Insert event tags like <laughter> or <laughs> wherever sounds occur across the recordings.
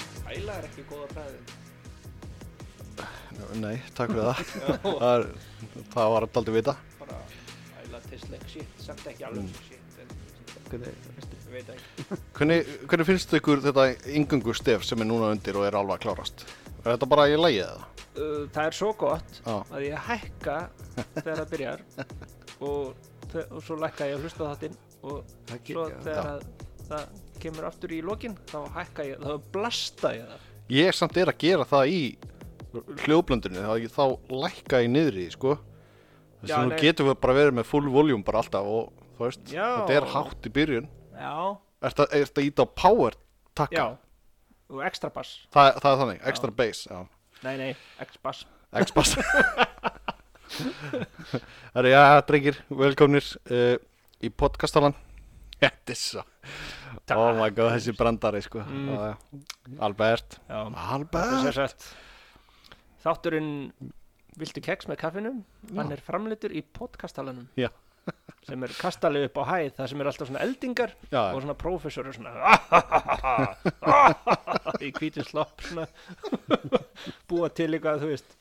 félagar ekki góða bræðið? Nei, takk fyrir það. <laughs> Já, það, er, það var aldrei vita. bara æla dyslexi, samt ekki alveg Mm. shit, en ég veit það ekki. Hvernig, hvernig finnst ykkur þetta yngungu stef sem er núna undir og er alveg að klárast? Er þetta bara í lægið eða? Uh, Það er svo gott Já. að ég hækka þegar það <laughs> byrjar og, þe- og svo lækka ég að hlusta á þáttinn og Það svo gekk, já. þegar Já. að, það kemur aftur í lokin þá hækka ég, þá blasta ég það. Ég samt er að gera það í hljóðblöndunni, þá, þá lækka ég niðri, sko. Þess Já, að nú nei. getum við bara verið með full voljum bara alltaf og þú veist, Já. þetta er hátt í byrjun. Já, Er þetta ít á power takka? já, og extra bass, Það, það er þannig, extra bass, já. nei nei, extra bass. X-Pass Það er já, drengir, velkomnir uh, í <laughs> podcastalan Þetta er svo Oh my god, þessi brandari sko Mm. mm. Albert Já. Þetta er Albert sem sagt Þátturinn Viltu keks með kaffinum? Hann er framleitur í podkastalanum Já. sem er kastalið upp á hæð það sem er alltaf svona eldingar Já. og svona <laughs> prófessor og svona í hvítu slopp svona <laughs> búa til eitthvað þú veist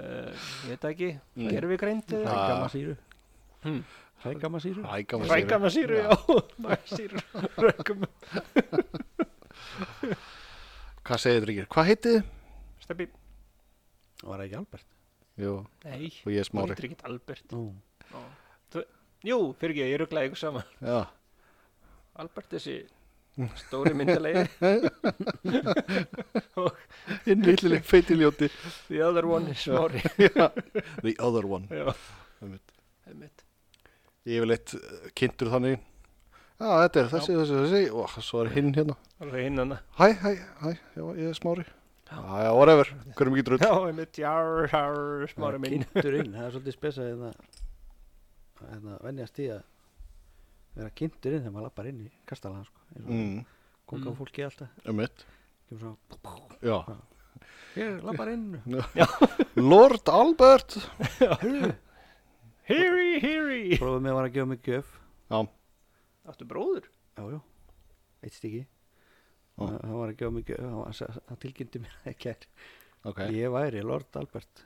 uh, ég veit það ekki, Mm. gerum við greind Ah. Hrægammasýru Hmm. Hrægammasýru Rækama rækka sér með síru, Já. já, síru rækka með Hvað segir drengir? Hvað heitið? þið? steppi, Var það ekki Albert? Jú, nei, og ég er hún smári heitir ekki Albert Nú jú, fyrir ekki, ég rugglaði ykkur saman Já, Albert þessi stóri myndalegi og hinn villileg feitiljóti <laughs> the other one is smári The other one <laughs> Já. Einmitt. Einmitt. Yfirleitt eh, kynntur þannig Já, þetta er þessi, þessi, þessi Og svo er hinn hérna alveg hinn hana Hæ, hæ, hæ, já, ég er smári Já. Já, já, whatever, hverjum ekki drull já, einmitt, jár, jár, smári minn Kynntur inn, það er svolítið spesað en það að venjast í að vera kynntur inn þegar maður lappar inn í kastalega sko eins og mm, konga Mm. fólki alltaf um mitt, kemur <laughs> svona já Ég lappar inn Lord Albert Hörðu, hiri, hiri Prófið mig var að gefa mig gjöf Já, áttu bróður Já, já, eitt stiki Það var að gefa mig gjöf hann var- hann- Hann tilkynnti mér það ekki ok Ég væri Lord Albert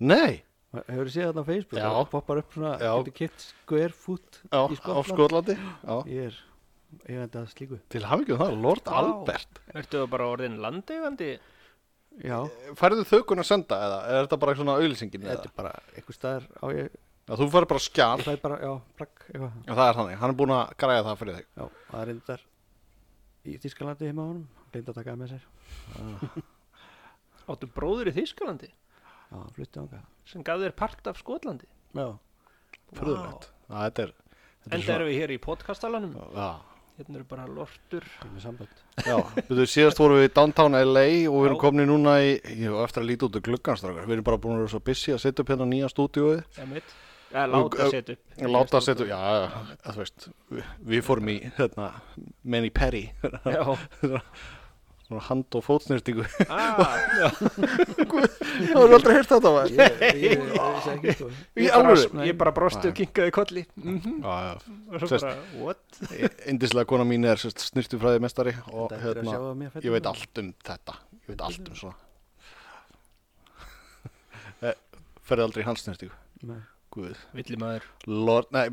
Nei, Hefur þið séð þarna á Facebook? Já. Það poppar upp svona, Já. getur kipt square foot já, í á Skotland. Skotlandi já. Ég er, ég veit að slíku. Til hafingjum það, Lord Vá. Albert ertu þú bara orðin landeigandi Já, Færðu þaukun að senda eða, er þetta bara svona auðlýsingin þetta eða? er bara einhver staðar á ég, Að þú færðu bara ég skjál fæ bara, já, plagg, eitthvað. Já, það er þannig, hann er búin að græja það fyrir þig Já, það er reyndar í Þískalandi heima á honum, reyndar að taka það með sér. áttu bróður í Þýskalandi Já, hann flutti ánga. sem gaf þér part af Skotlandi Já, Furðulegt Já, þetta er Þetta enda erum við hér í podkastalanum svona Já, hérna eru bara lortur það er með sambönd. já, við þau síðast vorum við í downtown LA og við erum Já. komin núna í, ég á eftir að líta út úr glugganstrákar, við erum bara búin að vera svo busy að setja upp hérna nýja stúdíóið einmitt eða láta Og- setja upp Láta setja, já, já, já, að þú veist, við, við fórum í, hérna, Manny Perry, já, <laughs> svona hand- og fótsnýrtingu. ah, Það var aldrei heyrt þetta, maður. Ég, ég, ég, ég vissi ekki, sko. Í ég, alvöru. bara, ég bara brosti Nei. og kinkaði kolli mm Já, og svo Sest- bara, what? já, indislega kona mín er sérst snýrtufræði mestari og Þetta Mm. er að sjá hérna, að mér fættur. ég veit allt um þetta, ég veit allt um svona. <laughs> Eh, Ferði aldrei í hans snýrtingu, Nei. guð, villi maður Lord, nei,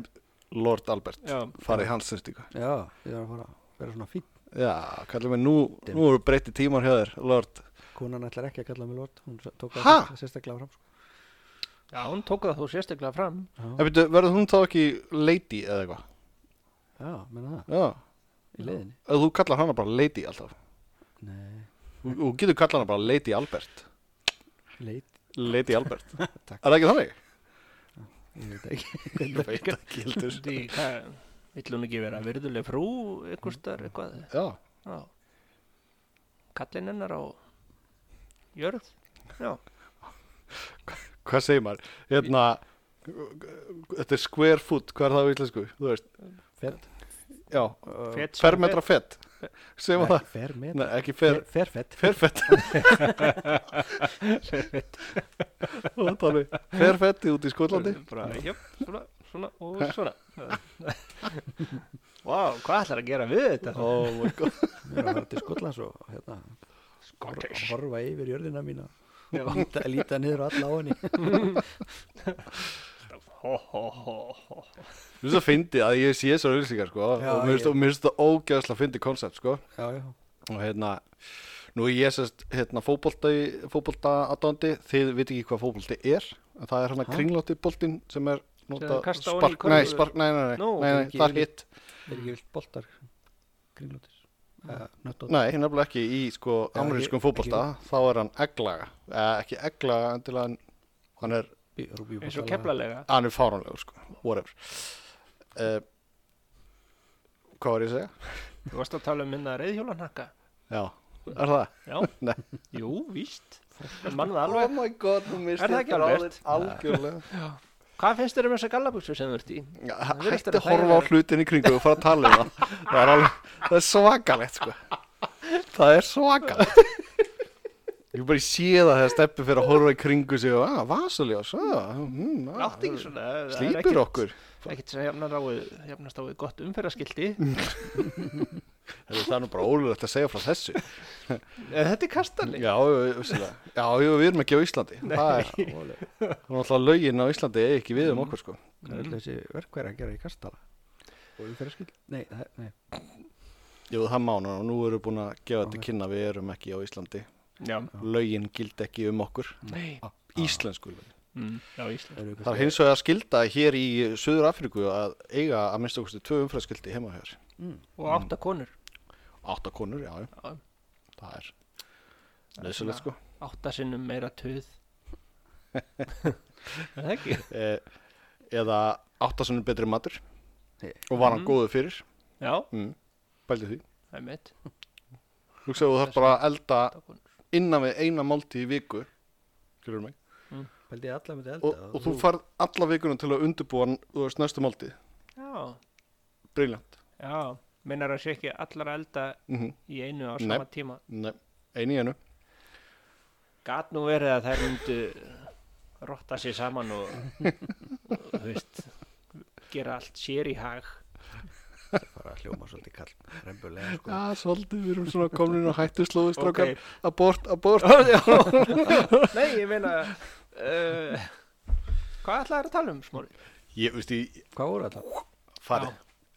Lord Albert, já, farið í hans snýrtingu. Já, ég þarf að fara að vera svona fín. Já, kallum við nú, nú eru breytti tímar hjá þér, Lord. Konan ætlar ekki að kalla mig Lord, hún tók Ha? það sérstaklega fram, sko. já, hún tók það þú sérstaklega fram En Já, byrju, Eh, verður hún þá ekki lady eða eitthvað? já, menna það, Já, í leiðinni. eða þú kallar hana bara lady alltaf. Nei, Þú þú getur kallað hana bara lady Albert. leit, Lady Albert. <laughs> Takk. er það ekki þannig? ég veit ekki. Ég veit ekki heldur. Því, hvað, vill hún ekki vera virðuleg frú einhverstar, eitthvað Já, já. kallinn hennar á jörð já, hvað segir maður? Hérna, þetta er square foot, hvað er það á íslensku? Þú veist, Fett. já, fet sem fermetra fett. Segir maður það? Fer með. Nei, ekki fer, Ferfett. ferfett. Ferfett. Ferfetti út í Skotlandi. Bara, jöp, svona, svona og svona <laughs> Vá, hvað ætlar að gera við þetta? Oh my god. Mér er að fara til Skotlands og hérna Scottish horfa yfir jörðina mína Já. líta, líta niður á alla á henni Ho, ho, ho, ho. Þú veist að fyndi að ég sé þessar auðlýsingar sko Já, og mér finnst- ég- og mér finnst það ógæðslega fyndi koncept sko já, <laughs> já, og hérna nú er ég sérst hérna fótbolta fótbolta aðdóndi þið veit ekki hvað fótbolti er en það er hann að Ha? kringlótti boltinn sem er nota Sem kasta ofan í spark, nei, körfu. spark, nei, nei, nei, Nú, nei, nei ekki það er yfir- hitt, er ekki vilt boltar kringlótis uh, nöttótt nei, nefnilega ekki í sko Já, ekki- amerískum ekki- fótbolta, þá er hann egglaga, eh, ekki egglaga til að hann er, eins og keflalega hann er fáranlegur sko, whatever uh, hvað var ég að segja? Þú varst að tala um minna reyðhjólanakka Já, er það? Já, Nei. jú, víst Mann það alveg Oh my god, hún Er það ekki Albert? algjörlega Hvað finnst þér um þessa gallabuxu sem þú ert í? Já, Það virðist hætti vera að horfa á þægilegra. hlutin í kringu og fara að tala um það það er, alveg, það er svakalegt sko. það er svakalegt ég bara sé það þegar steppi fyrir að horfa í kringu sig og að, vasuljós mm, ah, Látt ekki svona það er slípir ekkert- okkur Ekkert sem jafnar á við, jafnast á við gott umferðarskildi <laughs> Heyrðu, það er nú bara ólulegt að segja frá þessu já, Er þetta í kastali? já, vissulega. já, já, við erum ekki á Íslandi það er, <laughs> hvað það er alltaf lögin á Íslandi eigi ekki við um okkur sko. er öll þessi verkværi að gera í kastala og umferðarskill nei, það- nei, jú, það má nú, nú erum við búin að gefa þetta til kynna við erum ekki á Íslandi Já, lögin gild ekki um okkur nei íslensku lögin mm. Já, Ísland eru Það er hins vegar skilda hér í Suður Afríku að eiga að minnst okkurstu tvö umfræðskildi heima hér. Og átta konur Átta konur, já, já. Já. Það er nöðsulegt sko. Átta sinnum meira <laughs> töð Er það ekki? E, eða átta sem er betri matur Hey. og var hann Mm. góður fyrir. Já, Mm. Bældi því. það er mitt Hugsaðu þú þarf bara að elda Átta konur innan við eina máltíð í viku. Skilur mig. pældi ég alla myndi elda Og, og þú farð alla vikunum til að undirbúa hann, þú veist, næstu máltíð. Já, Briljant. já Minnar að sé ekki allar að elda Mm í einu á Nei. sama tíma Nei, einu í einu. Gat nú verið að þær myndu rotta sér saman <laughs> og, og þú veist, gera allt sér í hag. bara hljóma svolítið kall rembulega sko. Já, svolítið, við erum svona komin á hættu slóðu strákar. Ok. Abort, abort. <laughs> Nei, ég meina, uh, hvað ætlaðir að tala um, Smári? Ég, veist, ég hvað voru þetta? farið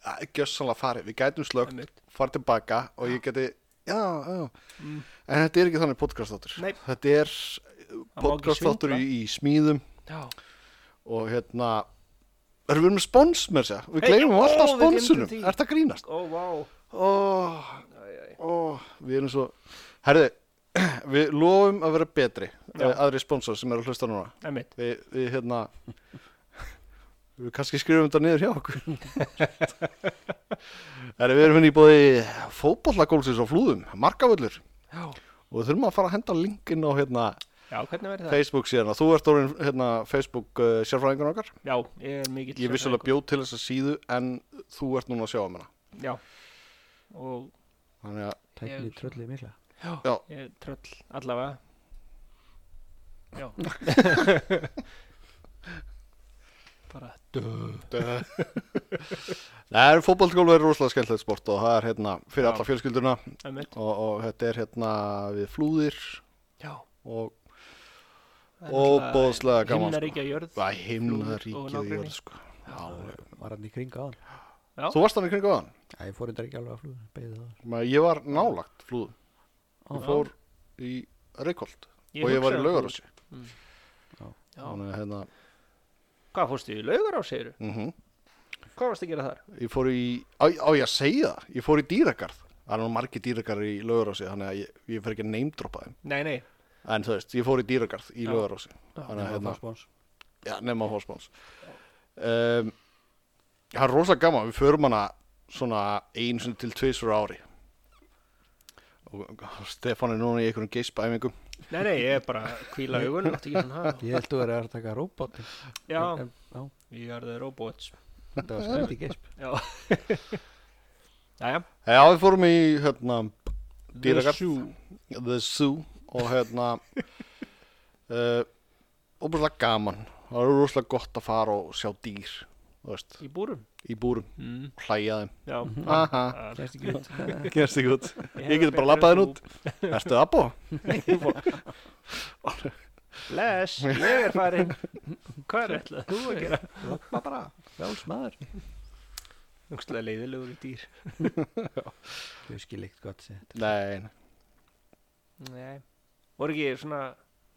Að- Gjörsamlega farið, við gætum slögt Einmitt. farið tilbaka og ég gæti já, já, en þetta er ekki þannig podcastáttur Mm. Nei. þetta er ekki podcastáttur í, í smíðum Já, og og hérna erum við með spons með þess að við Hey, gleymum ó, alltaf við gleymdum sponsunum, því. er þetta grínast vá, wow. ó, ó, við erum svo herði, <clears throat> við lofum að vera betri Já. eh, aðri sponsor sem eru að hlusta núna emitt, við, við hérna við kannski skrifum þetta niður hjá <laughs> okkur Þegar við erum henni í bóði fótbollagólsins á flúðum, markavöllur já, og við þurfum að fara að henda linkinn á hérna, já, hvernig verður það? Facebook síðan þú ert orðin hérna, Facebook uh, sérfræðingun okkar Já, ég er mikill ég vissulega bjóð til þessa síðu en þú ert núna að sjá um hana sérfræðingur. Já, og þannig <laughs> að tækni Ég- tröllið mikla já, ég er tröll allavega. <laughs> Já. Bara það er fótbollagólf er rosalega skemmtilegt sport og það er hérna fyrir Já. alla fjölskylduna og, emitt, og þetta er hérna við flúðir já. og Óboðslega gaman, sko. Himnaríkja jörð Það er Flúðir himna og ríkið í nágrenni. jörð sko. Já, var hann í kringa á hann Já. Þú varst hann í kringu aðan Já, ég fór þetta ekki alveg að flúða, beðið það Ég var nálagt flúðum Ég Já. fór í Reykjold og ég var í hugsaði um Laugarási Já. Þannig að hérna Hvað fórstu í laugar á segiru? mhm. Hvað varstu að gera þar? Ég fór í, á, á ég að segja það Ég fór í dýragarð Það er nú margir dýragarð í Laugarási Þannig að ég, ég fer ekki að neymdropa þeim Nei, nei En þú veist, ég fór í dýragarð í Já. Laugarási Nei, Þannig að það hérna var spons. Já, nema hóspáns um, Það er rosalega gaman, við förum hana svona einu sinni til tvisur ári og Stefán er núna í einhverjum geispæmingum Nei, nei, ég er bara að kvíla augun Látti ekki svona <laughs> hafa Ég held þú verið að taka robot Já, en, já ég er það robots Þetta var skræti gesp Já Jæja Já, við fórum í hérna dýragarð Zoo. The Zoo og hérna <laughs> eh, uh, og bara gaman það er rosalega gott að fara og sjá dýr og þú veist, í búrum í búrum, mm. hlæja þeim Já, aha, það- Gerst ekki út gerst ekki út ég hefði get bara betra labbað henn bú. út ertu abbo? Bless, ég er <laughs> farin Hvað er ætlað þú að <laughs> gera? Lappa bara Fjáls maður Úkslega leiðilegur í dýr Þau skil eitt gott sér nei, nei. Nei, voru ekki svona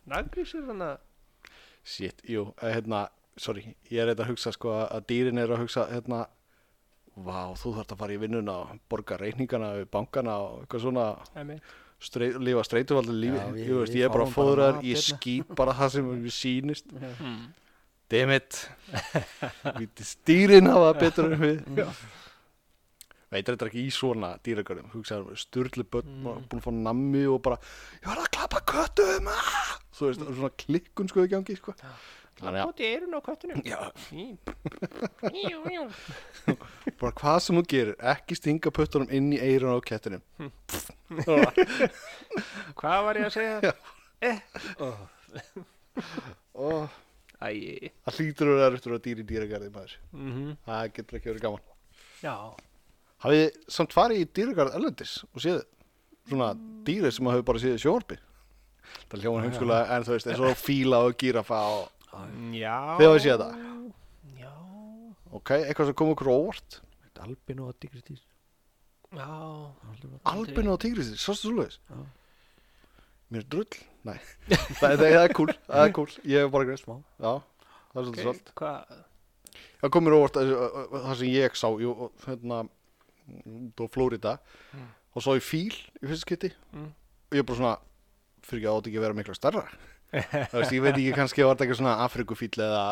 naggrísir þannig að shit, jú, eh, hérna sorry, ég er eitthvað að hugsa sko að dýrin eru að hugsa, hérna vá, þú þarft að fara í vinnuna og borga reyningana við bankana og eitthvað svona Æmi, streit, lifa streituvaldi lífi, Já, við- ég, veist, við ég er bara fáum bara fóðrar, mat ég hérna. skýt bara það <laughs> sem við sýnist hmm. damn it Víti, stýrin hafa betur en við Já. veit þetta ekki í svona dýragarðum, hugsaðum styrlu börn Hmm. Mm. mm. búin að fá nammi og bara ég var að klappa köttum ah! þú veist, Hmm. mm. svona klikkun sko í gangi sko. þannig að Bóti eirun á köttunum Já, <laughs> Í. Jú, jú. bara hvað sem þú gerir, ekki stinga puttunum inn í eirun á kettinum <laughs> Hvað var ég að segja? Eh. Oh. Hmm. oh, Æ það hlýtur að vera eftir að dýri dýragarði maður, mm -hmm. það getur ekki verið gaman Já, Hafið þið samt farið í dýragarð erlendis og séð svona dýrið sem að hafa bara séð í sjónvarpi? Það er hljóðan heimskulega en þú veist eins og fíla og gírafa og já þið hafið séð það. Já, Ok, eitthvað sem kom okkur á óvart. Albino og digristýr já Albinu og tígrisir, svo stu svoleiðis. Já. Mér er drull. Nei, <laughs> það, það, það er cool, það er cool. Ég hef bara greið. Smá. Já, það er svolítið svolít. Hvað? Það kom mér á óvart að- að- að- að það sem ég sá, jú, og hérna, þú Flórida, og svo í fíl í fyrsta skytti. Mm. Og ég bara svona, fyrir ekki að átt ekki að vera mikla starra. Þú veist, ég veit ekki kannski að var þetta eitthvað svona Afrikufíll eða,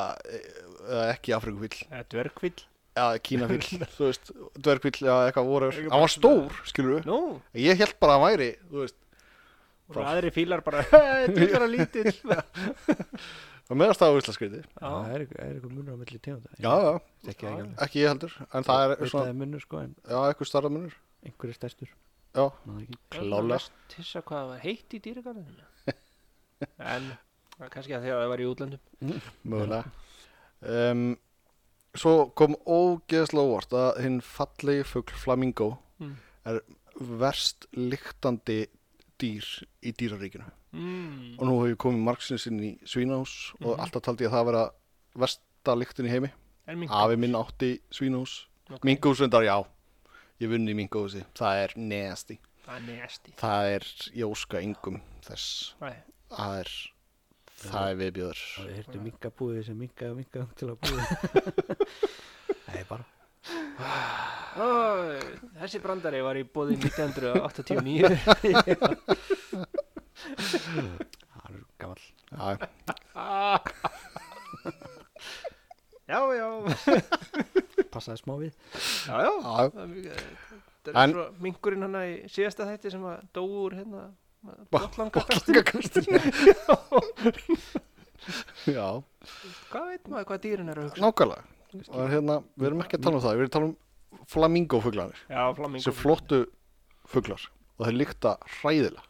eða ekki Afrikufíll Eh, Dvergfýll eða Kínafíll, þú veist, dvergfíll eða eitthvað voru, Ekki bara hann var stór, skilur við Nú, ég held bara að hann væri, þú veist og aðri fílar <laughs> bara Þetta er bara <laughs> lítill það meðast það á Íslandsgreiti, Já, Það er eitthvað- er eitthvað munur á milli tegunda já, já, Ekki ekki alveg ekki ég heldur en það er Veit að svona, er munur sko En já, eitthvað starra munur einhver er stærstur já, Ná það ekki klálega Tissa hvað það var heitt í dýragarðinu <laughs> En það er kannski að því að það var í útlöndum mögulega um, svo kom ógeðslega óvart að hinn fallegi fugl flamingo Mm. er verst lyktandi dýr í dýraríkinu mm. og nú hef ég komið margsins inn í svínahús og Mhm. alltaf taldi ég að það vera versta lyktin í heimi En mink afi minn átti svínahús Ok. okay. reyndar, já ég vunni í minguhúsi, það er neðasti Það er nesti það er, ég óska engum þess Æ, það er það er viðbjöður Og við hirtum minkabúið sem minkaði og minkaði til að búið <laughs> Það er bara Ó, Þessi brandari var í bóði <laughs> 1989 Það er gamall já, Já, já, Passaði smá við já, já já, Það er mjög- þetta er En- svo mingurinn hana í síðasta þætti sem að dóu úr hérna botlanga botlangakastin já, Hvað veit maður hvað dýrin eru að hugsa? nákvæmlega og hérna, við erum ekki að tala um það við erum að tala um flamingofuglanir Já, flamingo sem flottu fuglar og þeir lykta hræðilega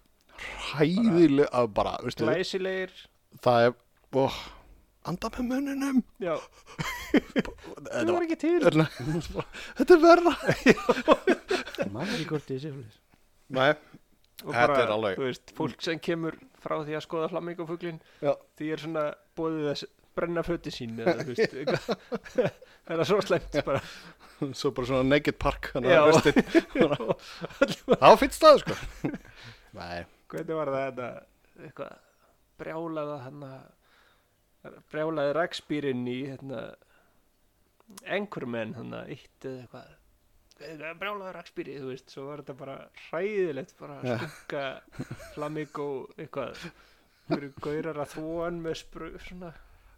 hræðilega að bara, veistu Glæsilegir það er, ó, anda með mununum Já, þetta, það var var, ekki til hérna, þetta er verra Mæður ekki hvort ég sé fyrir nei, Og Þetta bara, er alveg- Þú veist, fólk sem kemur frá því að skoða flamingofuglin Já. Því er svona bóðið að s- brenna föti sín eða, þú veist, eitthvað. <laughs> Það er svo slæmt bara svo bara svona naked park hann Já. er <laughs> vestið Það var fyrst staður sko <laughs> Nei, Hvernig var það þetta eitthvað brjálaða hann brjálaði rækspýrin í hérna Anchorman hann eitt eða eitthvað eitthvað brjálaði rækspýri þú veist svo var þetta bara hræðilegt bara Já. skunka flamingo eitthvað hverju gaurar að þvóan með spru, svona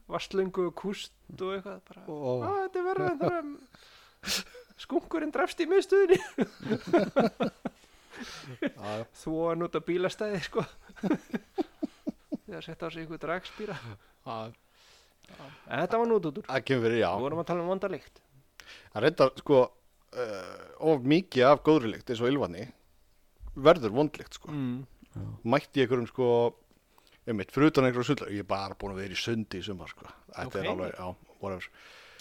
vastlöngu og kúst og eitthvað bara Ó. að þetta verður en það er skunkurinn drefst í miðstuðinni já, þvóan út á bílastæði sko <laughs> þegar setja á sig einhver dragspýra já. en þetta var nútútur, það kemur fyrir, við já vorum að tala um vandalikt Það reyndar sko uh, of mikið af góðri lykt eins og ylvanni verður vondlykt sko mm. Mætti ég einhverjum sko einmitt, fyrir utan einhverjum sundlar, ég er bara búin að vera í sundi í sumar sko Þetta Ok. er alveg, já, whatever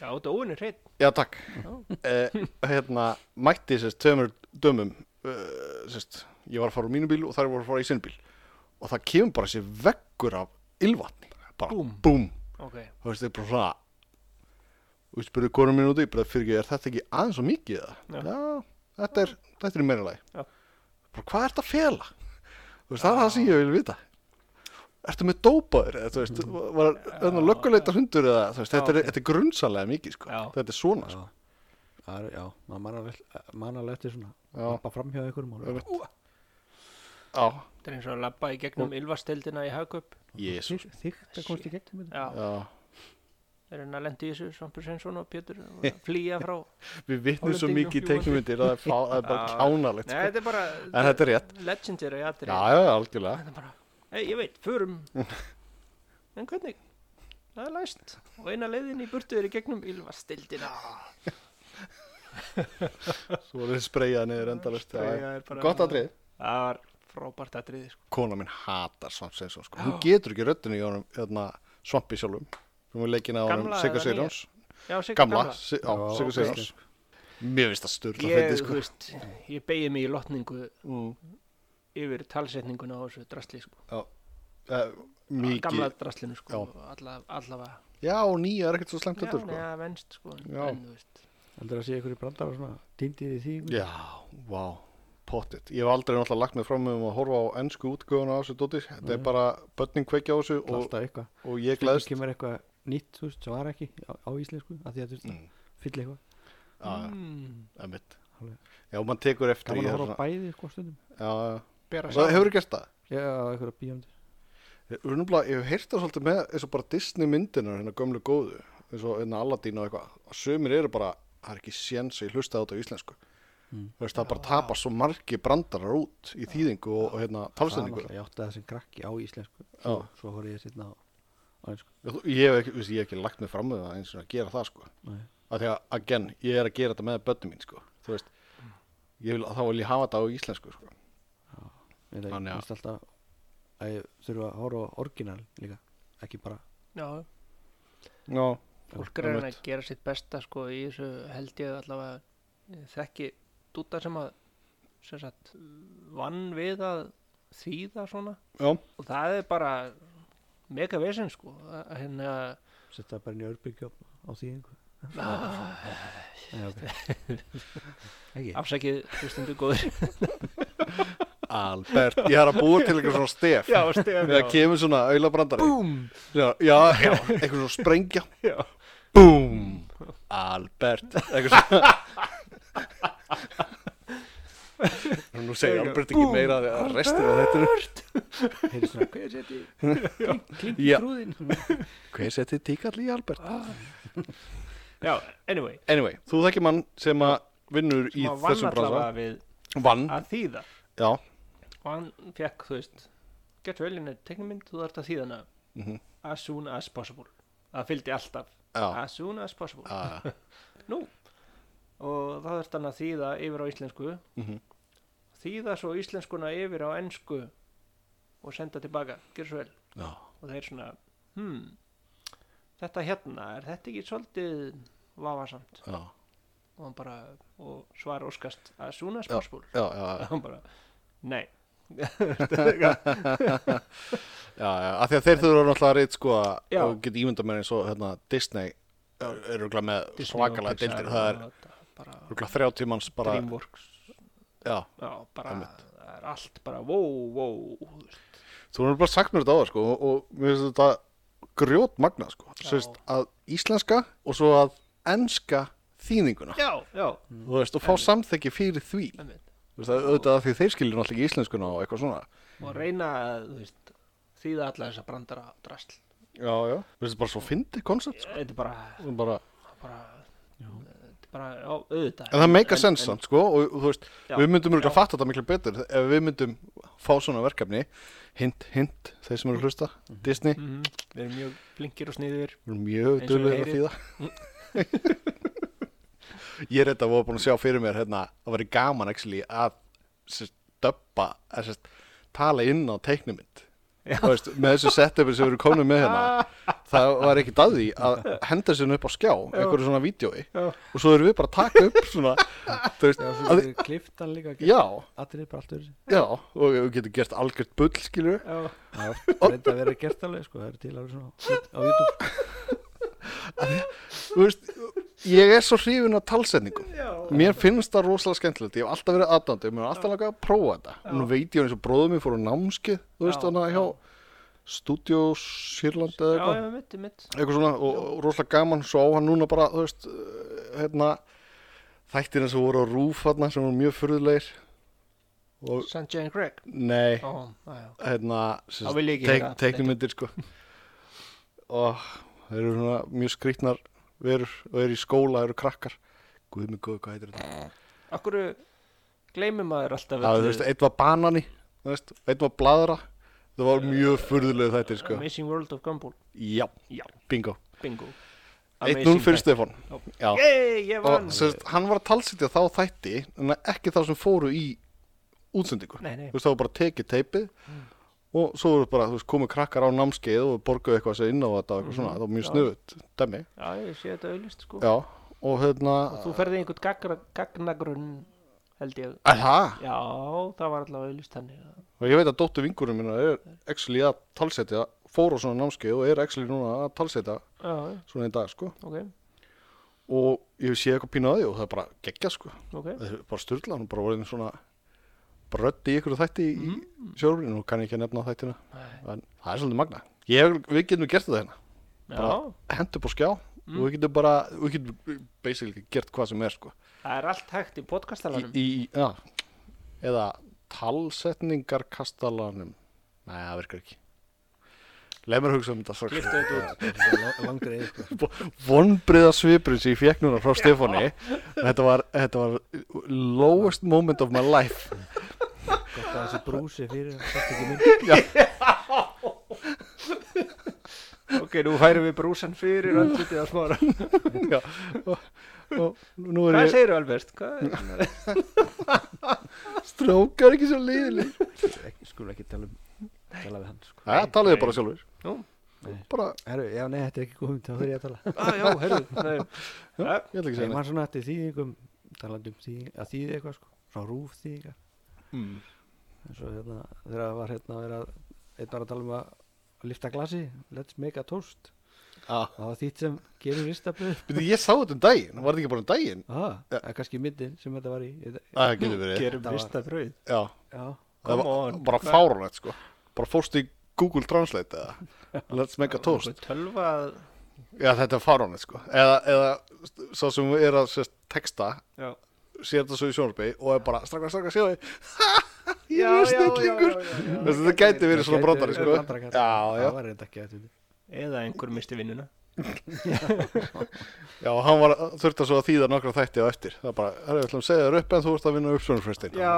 Já, þetta óinu hreitt. Já, takk uh, Hérna, mætti sérst tveimur dömum uh, sérst, Ég var að fara úr mínu bíl og þær voru að fara í sinn bíl Og það kemur bara sér veggur af ylvatni Bara búm, Búm. Ok. Þú veist, það er bara svona Þú veist, byrjuðu konum mín út í Bara fyrir ekki, er þetta ekki aðeins og mikið Já. það? Já, þetta er, þetta er í meira lagi Já. Ah. Bara, hvað er þetta að fela? Þú veist, það er það sem ég vil vita Ertu með dópaður? Eða, þú veist, var þetta lögguleita hundur eða, þú veist, þetta er, Mm-hmm. Já, ok. þetta er grunnsalega mikið, sko. Já. Þetta er svona, sko. Já, það er, já, maður man alveg- man alveg eftir svona Já. Lappa fram hjá einhverjum og Einmitt. Ú, Já. Þetta er eins og að labba í gegnum ylvasteldina í hagköp. Jésus þykkt- Þykkt að komst í gegnum þetta. Já, Já, það er henni að lendi í þessu, Svampur Sveinsson og Pétur, og að flýja frá. við vitnum svo Hollendingum mikið í fljúgandi. teiknumundir að það er fá- það er bara Já. kjánalegt <laughs> Nei, sko. þetta er bara En þetta er rétt legendary Já, atrið. já, algjörlega Þetta er bara, hei, ég veit, förum. <laughs> en hvernig? Það er læst. Og eina leiðin í burtu er í gegnum ylvasteldina. Svo er þið spreyjað niður endalist Spreyjað er bara- Gott atrið Það var frábært atrið, sko. Kona minn hatar Svamp Sveinsson sko. Hún getur ekki röddinu í honum hérna, Svampi sjálfum Hún er leikin á honum Gamla eða Sigga nýja? Sigurjóns Já, Sigga Gamla, Si- já, Já, Sigga ok. Sigurjóns Mér finnst það styrla Ég, fyrir þú sko. veist, ég beigði mig í lotningu Mm, yfir talsetninguna á þessu drastli, sko. eh, Gamla Mikið drastlinu, Já. sko. alla- Allavega. Já, og nýja er ekkert svo slemt Já, heldur sko. neða, venst, sko. en- Já. En, þú veist, Heldur að sé einhverju brandar og svona Týndið í því einhverju? Já, vá, pottit. Ég hef aldrei náttúrulega lagt mig fram um að horfa á ennsku útgöfuna á þessu dóti. Þetta er bara börnin kveikja á þessu Það er og, Mm. Alltaf eitthvað og ég Stundum gleðst. kemur eitthvað nýtt, þú veist, sem var ekki á, á íslensku að því að þú veist, Mm. mm. fyll eitthvað Já, Mm. emitt. Alveg. Já, og mann tekur eftir Gaman í að það. horfa á bæði sko stundum Já, já. Bera Það hefur gert það. Já, á einhverja bíómyndir Ég, unnumlega, ég hef heyrt það svolítið með eins og bara Disney myndinu, hérna gömlu góðu, eins og hérna Aladdin og eitthvað. Og sömur eru bara, það er ekki séns að ég hlusta á þetta á íslensku. Mm. Þú veist, það bara tapar svo margi brandarar út í þýðingu og, og hérna talsendingu. náttúrulega, ég átti það sem krakki á íslensku Já. Svo, svo horfði ég sérna á, á einsku Já, þú- Ég hef ekki, viðst, ég hef ekki lagt mig fram með það eins og að gera það sko Nei. af því að, again, ég er að gera þetta með börnum mín sko, þú veist ég vil, þá vil ég hafa þetta á íslensku sko Ég Þannig að- veist alltaf að ég þurfa að horfa á orginal líka Ekki bara Já, Já, fólk er að reyna einmitt. að gera sitt besta sko, í þessu held ég allavega ég þekki dúta sem að sem sagt, vann við að þýða svona já, og það er bara mega vesinn sko að- hérna, setja það bara inn í örbyggju á, á því einhverju Nei, <laughs> ok Ekki afsækið hlustundu góður Albert, ég er að búa til eitthvað svona stef Já, <laughs> stef, þegar já. kemur svona auðlabrandari Búm já, já, já, eitthvað svona sprengja Já. Búm, Albert eitthvað svona <laughs> Nú segir Albert ekki meira af því að restir af þetta Heyrðu svona, hvað er <laughs> þetta? Klingi Já. <laughs> trúðin Hver seti tíkall í Albert? Já, anyway Anyway, þú þekkir mann sem að vinnur í sem að vann þessum Mm. bransa allavega við Vann, að þýða já og hann fekk, þú veist gett velinni teknumynd, þú þarft að þýða hana Mhm. as soon as possible það fylgdi alltaf Já, as soon as possible já, já. og það þurft hann að þýða yfir á íslensku Mhm. þýða svo íslenskuna yfir á ensku og senda tilbaka, gerð svo vel já. og þeir svona, hmm þetta hérna, er þetta ekki svolítið vafasamt já. og hann bara, og svar óskast að súna Já. spásbúl já, já, og hann bara, nei já, já, af því að þeir þurfa náttúrulega að reynd sko að Já. og geta ímynda með eins og hérna, Disney er- eru örugglega með Disney og svakalega Pixar deildir, það er og þetta, bara örugglega 30 manns bara, Dreamworks já, já, bara, Einmitt. það er allt bara, wow, wow þú veist. þú erum bara sagt mér þetta á það sko og, og mér finnst þetta grjót magna sko, Já. sérst að íslenska og svo að enska þýðinguna, já, já, þú veist, og fá samþekki fyrir því, einmitt. þú veist, að auðvitað af því þeir skilur náttúrulega ekki íslenskuna og eitthvað svona og reyna að, þú veist, þýða alla þessa brandara og drasl Já, já. Þú veist, bara svo fyndið koncept, sko. þetta er bara, Þú bara... bara þetta er bara, já, auðvitað En það meika En- sens en- samt, sko, og, og þú veist, Já, við myndum mjög já. að fatta þetta miklu betur ef við myndum fá svona verkefni, hint, hint, þeir sem eru að hlusta, Disney, mhm, við erum mjög flinkir og sniður við erum mjög Eins og dölur að við þýða. <laughs> Ég er þetta að voru búin að sjá fyrir mér, hérna, að veri gaman, actually, að sérst, döbba, að sérst, tala inn á teiknumynd. Já. <laughs> Þú veist, með þessu setupi sem við erum komin með hérna, það var ekki daði að henda sér upp á skjá einhverju svona vídjói Já. og svo erum við bara að taka upp svona þú veist, Já, svo að, fyrir kliftan líka já, Allir bara allt öðru já og við getum gert algjört bull skilur já, <laughs> Það er reynda að vera gert alveg sko Það eru til alveg svona á <laughs> YouTube þú veist, ég er svo hrifin af talsetningum já. Mér finnst það rosalega skemmtilegt, ég hef alltaf verið aðdandi, mér hef alltaf langað að prófa þetta. Já. Og nú veit ég eins og bróðum mér fór á námskið, þú veist Já, þannig að já. hjá Studio Sýrland já, eða eitthvað, já, mitt, mitt eitthvað svona og, og rosalega gaman, svo á hann núna bara, þú veist, uh, hérna, þættina sem voru á rúf þarna sem voru mjög furðulegir og St. Jane Craig nei, Ó, já, já. hérna, Þá vil ég ekki heyra. teiknumindir sko og þeir eru svona mjög skrýtnar verur og eru í skóla, eru krakkar, guð mig góð, hvað heitir þetta? Akkur gleymir maður alltaf Já, öllu? þú veist, einn var banani, þú veist, einn var bladra. Það var mjög furðulega þetta, sko. Amazing World of Gumball Já, Já, bingo. bingo 1-0 Amazing fyrir Stefán. Já. Já. Yey, ég vann Og sérst, hann var að talsitja þá þætti, en ekki þá sem fóru í útsendingu. Nei, nei. Þú veist, þá var bara tekið teipið og svo voru bara, þú veist, komið krakkar á námskeið og borguðu eitthvað sér inn á þetta og eitthvað svona. Það var mjög Já. snuðut, dæmi. Já, ég sé þetta auðlist sko Já, og hérna... Og þú ferði einhvern gagra, gagnagrunn held ég Það, Já, það var allavega auðlist þannig að- og ég veit að dóttu vingurum minna er actually að talsetja, fór á svona námskeið og er actually núna að talsetja Já, já, svona einn dag, sko. ok, og ég sé eitthvað pínu að því og það er bara geggja sko ok það er bara styrla, hún er bara voruð svona bara rödd í ykkur þætti í mm. sjórfinu og kann ég ekki að nefna þættina en það er svolítið magna ég, við getum gert þetta hérna, Já, Mm. hendur bara skjá og við getum bara, við getum basically gert hvað sem er sko það er allt hægt í í, podcastalanum í, já, eða talsetningar kastalanum nei, það virkar ekki leið mér að hugsa um þetta strax. Kliftu þetta út Langtur eða sko vonbriða svipurinn sem ég fekk núna frá Stefáni þetta var, þetta var lowest moment of my life Gott að <laughs> þessi brúsi fyrir Sátt ekki minn <laughs> Ok, nú færum við brúsan fyrir andlitið að smára. Já, og, og nú er Hvað ég segirðu Albert? Hvað er strókar ekki svo liðileg Ekki- Skulum ekki tala um Tala við hann sko það talaði bara sjálfur Nú. bara, Herru, já nei, þetta er ekki góð hugmynd Þá þurfi ég að tala ah, Já, herru Já, ég ætla ekki að Ég segja var svona eftir þýðingum talandi um þýðing, að þýði eitthvað sko frá rúf þýðingar Mm. eins og hérna þegar það var hérna vera, einn var að tala um að lifta glasi let's make a toast neitt það var þýtt sem gerum ristabröð ég sá þetta um daginn, var þetta ekki bara um daginn ah, það er kannski myndin sem þetta var í ég, Æ, það getur verið gerum Þetta var- vista fröð Já, já, það Come var on. bara fáránlegt sko bara fórst í Google Translate eða let's make a toast Tölva að- Já, þetta er fáránlegt sko eða, eða svo sem er að sérst, texta Já, sér þetta svo í sjónarbi og er bara strakkar, strakkar, sjáðu <laughs> ég Já, er já, já, já, snillingur já, já. Þú veist, þetta gæti verið svona gæti brandari verið sko brandarakall. já, já, það var reynda ekki að þetta Eða einhver misti vinnuna já, hann var, þurfti svo að þýða nokkra þætti á eftir það er bara, það er ætlum að segja þér upp en þú ert að vinna upp svonarfrestin Já,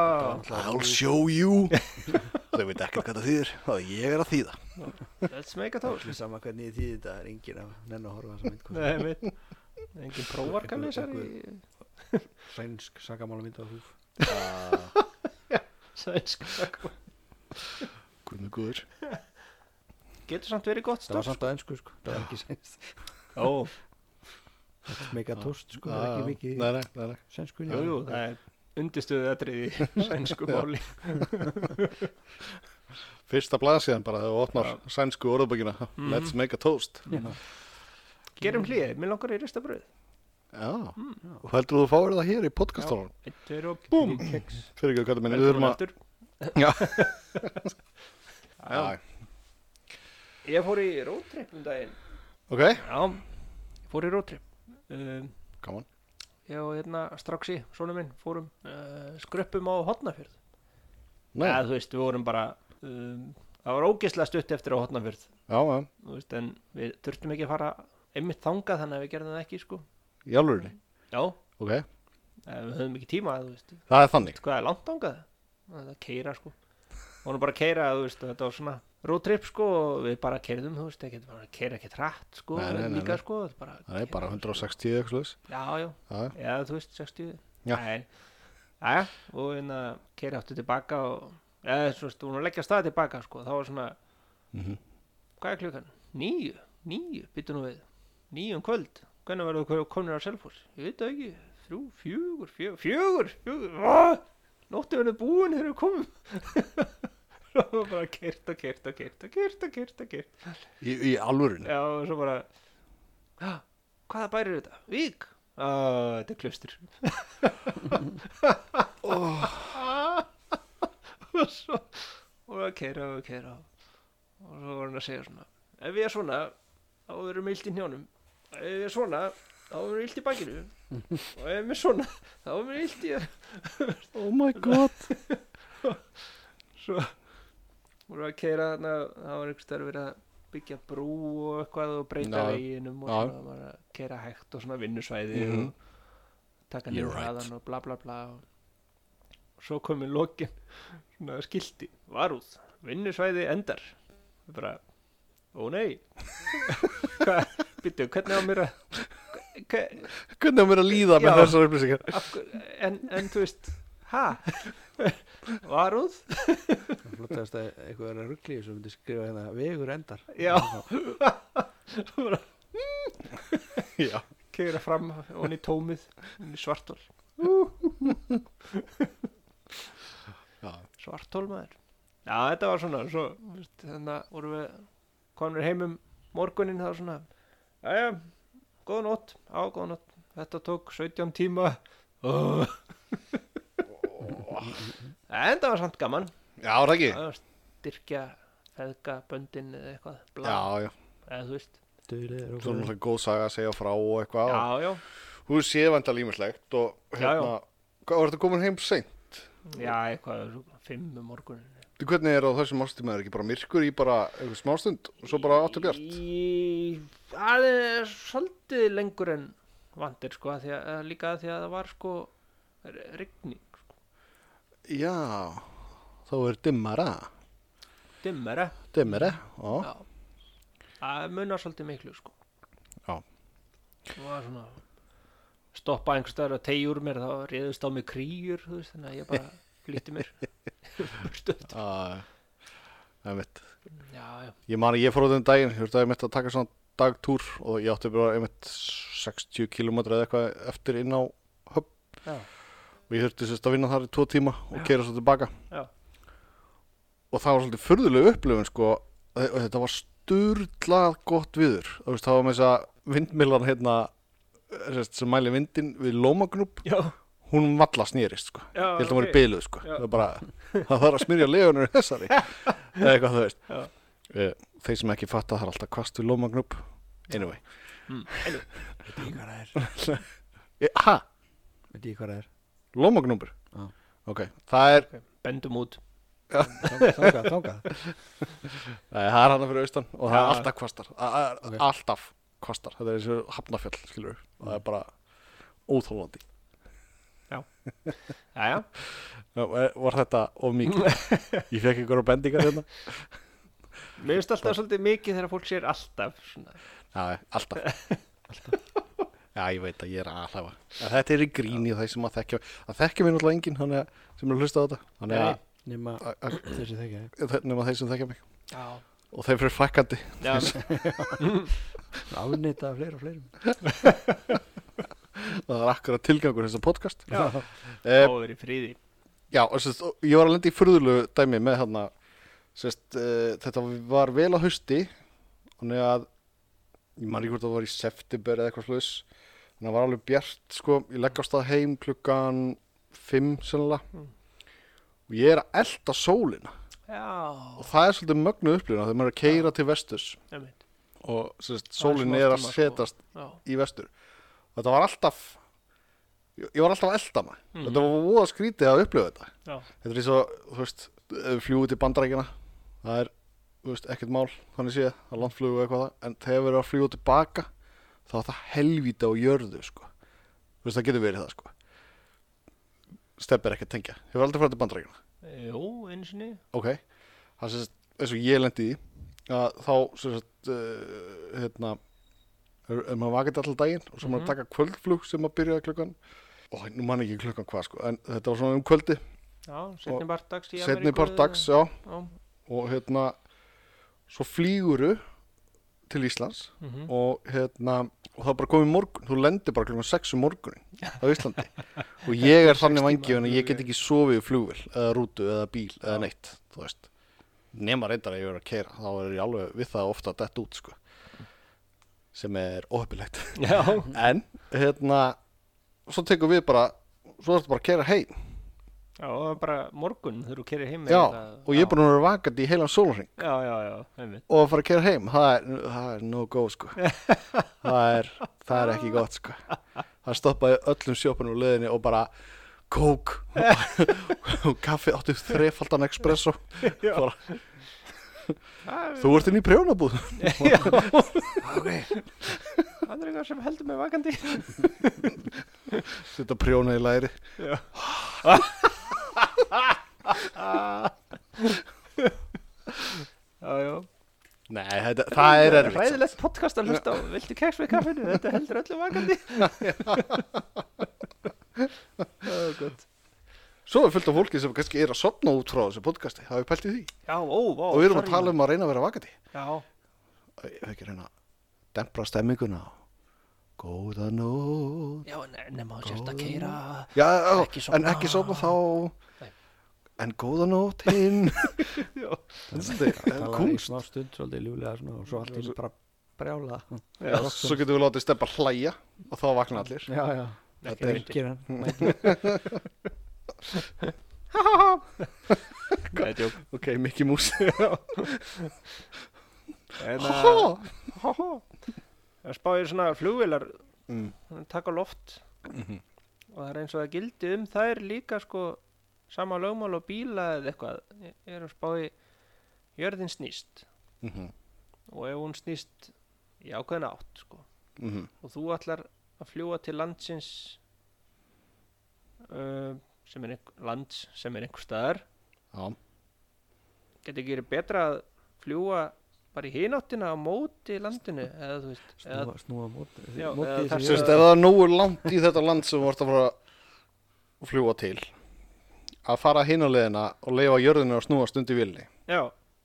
I'll show you <laughs> þau veit ekkert hvað það þýðir það ég er að þýða let's make a toast allir sama hvernig ég þýði þetta er engin að nenn að horfa sem einhver Nei, mitt Engin prófarkalesar í sænsk sakamála mynd á húf sænsk sakmála. Guð með guður Getur samt verið gott það var stof samt á ennsku sko það var ekki sænsk Ó, let's make a toast sko það er Já, ekki já. mikið Nei, nei, nei, nei. sænsku jú, jú, það er undirstöðu aðriði <laughs> sænsku máli fyrsta blaðsíðan bara þegar þú opnar sænsku orðabækina let's make a toast Gerum hlýði, mér langar í ristabröð já, og heldur þú fáir það hér í podcastónum Eitt, tveir og búm fyrir ekki að kalla minni, Velkomin við erum að aftur Já, Já, Ég fór í róttripp um daginn ok, Já, ég fór í róttripp um, gaman Ég og hérna straxi, sonum minn, fórum uh, skröppum á hotnafjörð Nei, Eða, þú veist, við vorum bara um, Það var ógeðslega stutt eftir á hotnafjörð já, já, Þú veist, en við þurftum ekki að fara einmitt þangað þannig að við gerðum það ekki, sko í alvörinni Já, eh, Ok, við höfum ekki tíma, þú veist það er þannig Hvað er langt þangað? Það er að keira, sko Hún er bara að keira, þú veist, þetta var svona roadtrip, sko, og við bara keirðum, þú veist, ekki, bara keira ekki trætt, sko, Nei, nei, nei, líka, nei. sko, þetta bara, Það er bara 160 eitthvað slags Já, já, Já. já, þú veist, 60 Já. Nei. Jæja, og hérna keiri aftur tilbaka og eða, svo veist, hún var að leggja af stað tilbaka, sko, þá var svona Mhm. hvað er klukkan? Níu? Níu, býttu nú við Níu um kvöld, hvernig verður þú komin að selfos? Ég veit það ekki, þrjú, fjögur, fjögur Fjögur, fjögur, aaaah Nóttu verður búin þegar við komum <laughs> Það var bara kert og kert og kert og kert og kert og kert Í, í alvörun Já, og svo bara "Ha, Hvaða bær er þetta? Vík? Ó, þetta er klustur Oh. <laughs> Og svo Og að keira og keira Og svo var hann að segja svona Ef ég er svona, þá verður meilt í hnjánum Ef ég er svona, þá verður meilt í bakinu Og ef ég er svona, þá verður meilt í Oh my god svo voru að keira þarna það var einhvers þar verið að byggja brú og eitthvað og breyta Já, veginum og já. svona var að keira hægt og svona vinnusvæði Mhm. og taka You're niður right. hraðan og bla bla bla og svo komið lokin svona skilti, varúð vinnusvæði endar Við bara, ó nei <laughs> hvað, býttu, hvernig á mér að hva, Hvernig á mér að líða með Já. þessar upplýsingar af, hver- en, en þú veist ha, <laughs> varúð Það flottaðist að eitthvað er að ruggli sem myndi skrifa hérna vegur endar Já. bara <laughs> Já, keira fram onni tómið onni svartól já, svartól maður já þetta var svona svo, veist, þannig að vorum við konur heim um morgunin það var svona já já, góða nótt á góða nótt þetta tók 17 tíma oh. en það var samt gaman já er það ekki að styrkja feðga böndin eða eitthvað bla, Já, já, eða þú veist Dulir og svo er náttúrulega góð saga að segja frá og eitthvað og já já, Þú séð vandal ímislegt og Já, já. hérna Hvað var þetta komin heim seint? já eitthvað fimm um morgunin Þú hvernig er á þessum ástíma er ekki bara myrkur í bara einhver smástund og svo bara áttu bjart? Í- Það er svolítið lengur en vandir sko, af því að, að líka af því að það var sko r- rigning, sko, Já, þá er dimmara. dimmera Dimmara, já. Já, það munar svolítið miklu sko Já. Það var svona stoppa einhvers staðar að tegi úr mér þá reyðust á mig kríur, þú veist, þannig að ég bara flýtti <laughs> mér Stöð. Já, það er mitt. Já, já, Ég man að ég fór út um daginn, ég veist að ég mitt að taka svona dagtúr og ég átti bara einmitt 60 km eða eitthvað eftir inn á höfn já, og ég þurfti sérst að vinna þar í tvo tíma og keira svo tilbaka. já, og það var svolítið furðuleg upplifun sko og þetta var sturlað gott viður þú veist það var með þess að vindmillan hérna sérst, sem mæli vindin við Lómagnúp já, hún valla snýrist sko Já, ég held að hún var í ok. byluð sko Já. það, var bara, það þarf að smyrja legunur <laughs> þessari eða eitthvað þú veist Já. Eh, þeir sem ekki fatta það er alltaf kvast við Lómagnúp anyway mm, anyway. Veit ég hvað það er Eh, ha, Veit ég hvað það er Lómagnúpur Já. ok, það er, ok, bendum út Þangað, Þangað, þangað nei, eh, það er hana fyrir austan og það Já. er alltaf kvastar það er Ok. alltaf kvastar, þetta er eins og hafnafjall skilur við, það er bara óþólandi Já, já, Já, er- var þetta of <laughs> mikið ég fekk einhverja bendingar hérna mér finnst alltaf svolítið mikið þegar fólk sér alltaf svona já, alltaf já, ég veit að ég er alltaf að þetta er í gríni og það sem að þekkja að þekkja mér náttúrulega enginn þannig að, sem er að hlusta á þetta þannig að, Nýma að, að, þessi þekja að nema þeir sem þekkja mig Já, og þeir fyrir fækandi já, Ánýta af fleiri og fleirum það er akkurat tilgangur þessa podcast <laughs> já. Eh, Óður í fríði Já, og sérst, og ég var að lenda í furðulegu dæmi með þarna sérst, uh, þetta var vel á hausti þannig að ég man ekki hvort það var í september eða eitthvað slúðis þannig að það var alveg bjart sko, ég legg á stað heim klukkan 5 sennilega Mm. og ég er að elda sólina Já, og það er svolítið mögnuð upplifuna þegar maður er að keira til vestus nefnt og sérst, Það er sólin svona er að ástæma, sko. setast Já, í vestur og þetta var alltaf ég, ég var alltaf að elda maður Mhm. þetta var voða skrítið að upplifa þetta já, Þetta er eins og, þú veist, ef við fljúum til bandarækina, það er, þú veist, ekkert mál, þannig séð, það er landflug og eitthvað það, en þegar við erum að fljúa tilbaka, þá er það helvíti á jörðu, sko. Þú veist, það getur verið það, sko. Stepp er ekki að tengja. Hefur aldrei farið til bandarækina. jú, einu sinni Ok. Það sést, eins og ég lendi í, því, að þá, sem sagt, uh, hérna, er, er maður vakið allan daginn og svo Mhm. maður að taka kvöldflug sem að byrja klukkan, og nú man ég ekki klukkan hvað, sko, en þetta var svona um kvöldi, Já, setni part dags í setni Ameríku part eða- dags, já, Já, og hérna svo flýguru til Íslands Mhm. og hérna og það er bara komið morgun, þú lendir bara klukkan 6 um morgunin á Íslandi og ég er þannig vangjöfn að ég get ekki sofið í flugvél eða rútu eða bíl eða neitt þú veist, nema reyndar að ég er að keira þá er ég alveg við það ofta að detta út sko sem er <laughs> óhefnilegt Já, en hérna svo tekum við bara, svo ertu bara að keira heim já, og það er bara morgun þegar þú kerir heim eða já, eitthvað. og ég er búin að vera vakandi í heilan sólring Já, já, já, <laughs> einmitt og að fara að kera heim það er, það er no go sko það er, það er ekki gott sko það stoppaði öllum sjópanum og leðinni og bara kók og <laughs> kaffi áttu þrefaldan espresso Já. bara, <laughs> Það er- þú ert inn í prjónabúð Já, ok, það er eitthvað sem heldur mig vakandi setja prjóna í læri Já. Já, já nei, þetta, það er erfitt sko. Ræðilegt podcast að hlusta á Viltu keks með kaffinu? Þetta heldur öllu <laughs> vakandi <laughs> Það er gott svo er fullt af fólki sem kannski er að sopna út frá þessu podcasti, það er pælt í því Já, ó, vá og við erum að tala um að reyna að vera vakandi Já, ég hef ekki að reyna að dempra stemminguna góða nót já ne- nema þú sért að keira Já, já, Ekki sofna. en ekki sopna þá Nei. En góða nótt <laughs> hinn Já, Þetta er talaði í kunst smá stund svolítið ljúlega svona, og svo allt í einu bara brjála já Svo getum við látið steppa hlæja og þá vakna allir já, já, Ekki Þetta er- viti. ekki hann Nei, djók. Ok, Mickey <laughs> Mouse En að Ha, Það spáir svona flugvilar Mm. taka loft og það er eins og það gildi um þær líka sko sama lögmál og bíla eða eitthvað Ég- ég er að spáði jörðin snýst mhm, og ef hún snýst í ákveðin átt sko mhm. og þú ætlar að fljúa til landsins uh, sem er einhver, lands sem er einhver staðar Já, getur ekki verið betra að fljúa bara í hináttina á móti landinu eða þú veist eða snúa, snúa móti, Já, eða móti þar Þú sem- veist, ef það er nógu langt í þetta land sem þú vart að fara að fljúa til að fara hinn á leiðina og leifa jörðinu að snúa stund í vilni já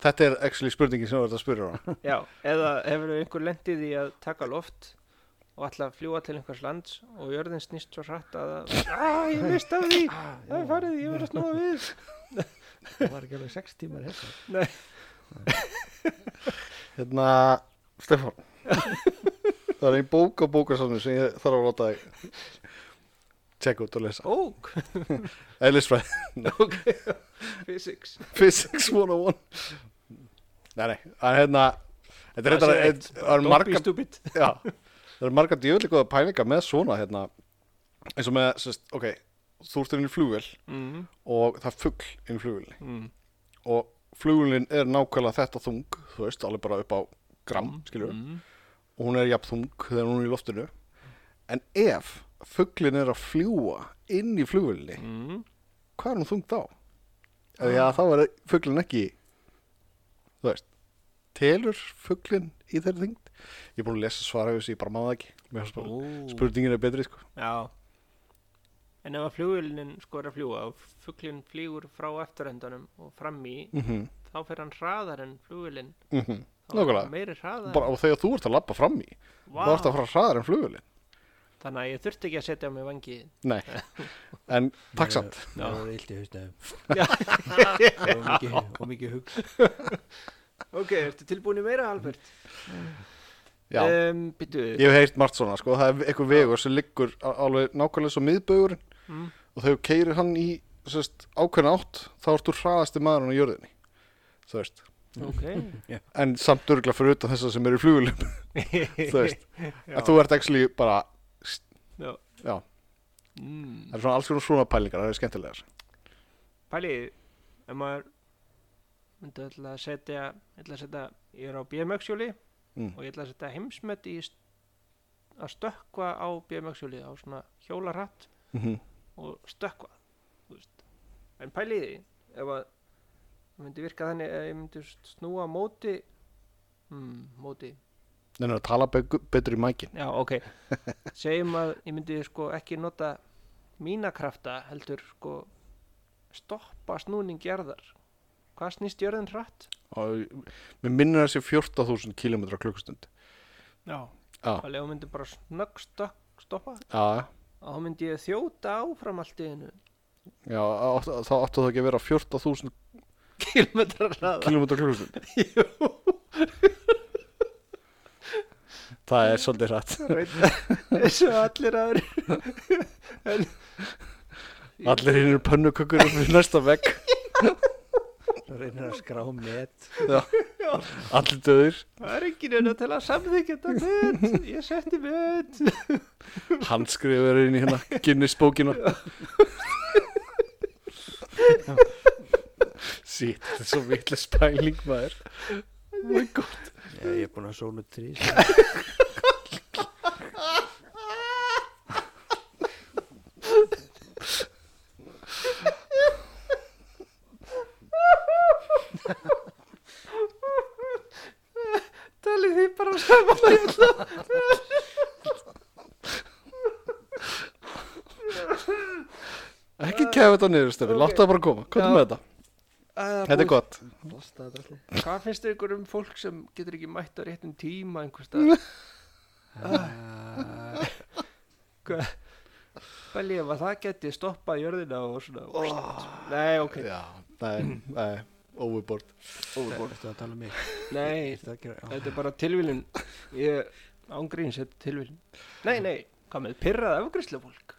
Þetta er actually spurningin sem þú ert að spyrja um. hana Já, eða hefur einhver lendið í að taka loft og ætla að fljúa til einhvers lands og jörðin snýst svo hratt að það ah, ég mist af því, það er farið, ég verið að snúa við það var ekki alveg 6 tímar hérna Hérna, <laughs> Stefán Það er ein bók á bókasamni sem ég þarf að láta þig tjekka út og lesa <laughs> Ók, Eðlisfræði, ok, physics Physics 101 Nei, nei, það er hérna Þetta Það er hérna, sé eitt, það er Don't be margar stupid Já, það er margar djöfli góða pælinga með svona hérna eins og með, sérst, ok þú ert inn í flugvél mm, og það er fugl inn í flugvélni mm, og flugvélin er nákvæmlega þetta þung þú veist, alveg bara upp á gram, skilur mm, og hún er jafn þung þegar hún er í loftinu en ef fuglin er að fljúa inn í flugvélni mm. hvað er hún þung þá? Ah. Já, þá er fuglin ekki þú veist telur fuglin í þeirri þyngd ég er búin að lesa svara þessu, ég bara maður það ekki Mér fannst bara- Ó, spurningin er betri sko Já En ef að flugvélinin sko er að fljúa og fuglinn flýgur frá eftirhendanum og fram í, mm -hmm. þá fer hann hraðar en flugvélin Mm -hmm. Þá er Nákvæmlega. Meiri hraðar bara, og þegar þú ert að labba fram í Vá. þú ert að fara hraðar en flugvélin Þannig að ég þurfti ekki að setja á mig vangi <laughs> nei, en takk samt Já. það var illt í hausnæðum Já. og mikið, <laughs> og mikið hug Ok, ertu tilbúin í meira, Albert? já, um, Býtu ég hef heyrt margt svona sko, það er eitthvað vegur sem liggur á- alveg nákvæmlega svo miðbögur mm, og þegar þú keirir hann í sest, ákveðna átt þá ert þú hraðasti maðurinn á jörðinni þú veist Ok en samt örgla fyrir utan þessa sem eru í flugulum <laughs> þú veist Já. að þú ert actually bara Já. já, mm, það er svona alls konar svona pælingar það er skemmtilegar Pæli, ef maður myndi ætla að setja, ég ætla að setja ég er á BMX-júli Mm. og ég ætla að setja heimsmet í st- að stökkva á BMX-júli á svona hjólarhatt mm -hmm. og stökkva þú veist. en pæli því ef að það myndi virka þannig að ég myndi snúa á móti mm, móti, en að tala be- betur í mækin já ok segjum að ég myndi sko ekki nota mína krafta heldur sko stoppa snúning jarðar hvað snýst jörðin hratt? og mér minnir að sé 14.000 km klukkustund Já. Já. Alveg hún myndi bara snöggstokk stoppa já, og þá myndi ég þjóta áfram allt í hennu. já, átt- þá áttu það ekki að vera 14.000 Kilometrar hraða. km klukkustund það er svolítið rætt Þessu allir aður. allir hinn eru pönnukökur upp við næsta vekk Það reynir að skrá met allir döður, Það er ekki neina til að samþykja þetta mynd. Ég setti mynd. hann skrifur inn í hérna Guinness bókina Sýtt, þetta er svo vitlega spæling maður oh my god Já, ég er búin að sónu trís <laughs> Talið því bara saman að ég ætla. Ekki kefa þetta niður stefi, okay. Ok. láta það bara koma, hvað Já. er með þetta? Þetta er gott Það Hvað finnst þau ykkur um fólk sem getur ekki mætt á réttum tíma einhvers stað? Bælið ef að það geti stoppað jörðina og svona. Nei, ok. Já, nei, nei, overboard er að tala um mig Nei, Ertu að gera- Já. þetta er bara tilviljun. Ég ángríns, þetta er tilviljun. Nei, nei, hvað með pyrrað afgriðslufólk?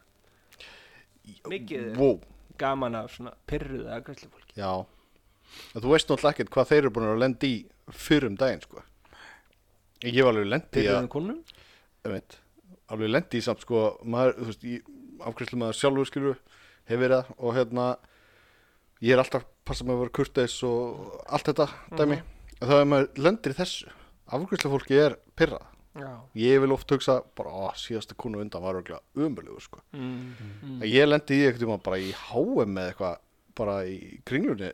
Mikið er Wow, gaman af svona pyrruð afgriðslufólki. já En Þú veist náttúrulega ekkert hvað þeir eru búin að lenda í fyrir um daginn, sko Ég hef alveg lendi í að, Pyrruðum konum? einmitt, alveg lendi í samt, sko maður, þú veist, ég afgriðslu maður sjálfur skilur hef verið það og hérna ég er alltaf að passa mig að vera kurteis og allt þetta dæmi mm -hmm. þá er maður lendir í þessu afgriðslu fólki er pyrrað Já. ég vil oft hugsa bara á síðasta konu undan var örgulega umölugur sko. Mm. mm. ég lendi í eitthvað tíma bara í HM með eitthvað bara í kringlunni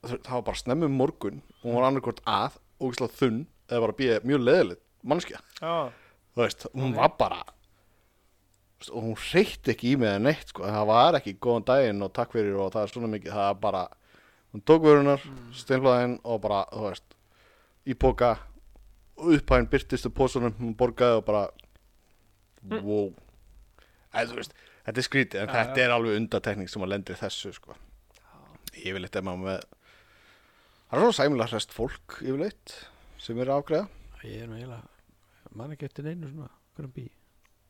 Þ- það var bara snemmum morgun og hún var annarkvort að, ógislega þunn eða bara býja mjög leðilegt mannskja Já. þú veist, hún var bara þú veist, og hún reytti ekki í mig eða neitt sko, það var ekki góðan daginn og takk fyrir og það er svona mikið, það er bara hún tók vörunar, Mm. steinflaðin og bara, þú veist, í póka og upphæðin byrtist úr pósunum, hún borgaði og bara wow eða þú veist, þetta er skrítið en Mm. Já, þetta er alveg undatekning sem að lendir í þessu sko, yfirleitt er maður með það er svona sæmilega hrest fólk yfirleitt sem er að afgreða Ég er nú eiginlega Man ekki eftir neinu svona Hvernig bý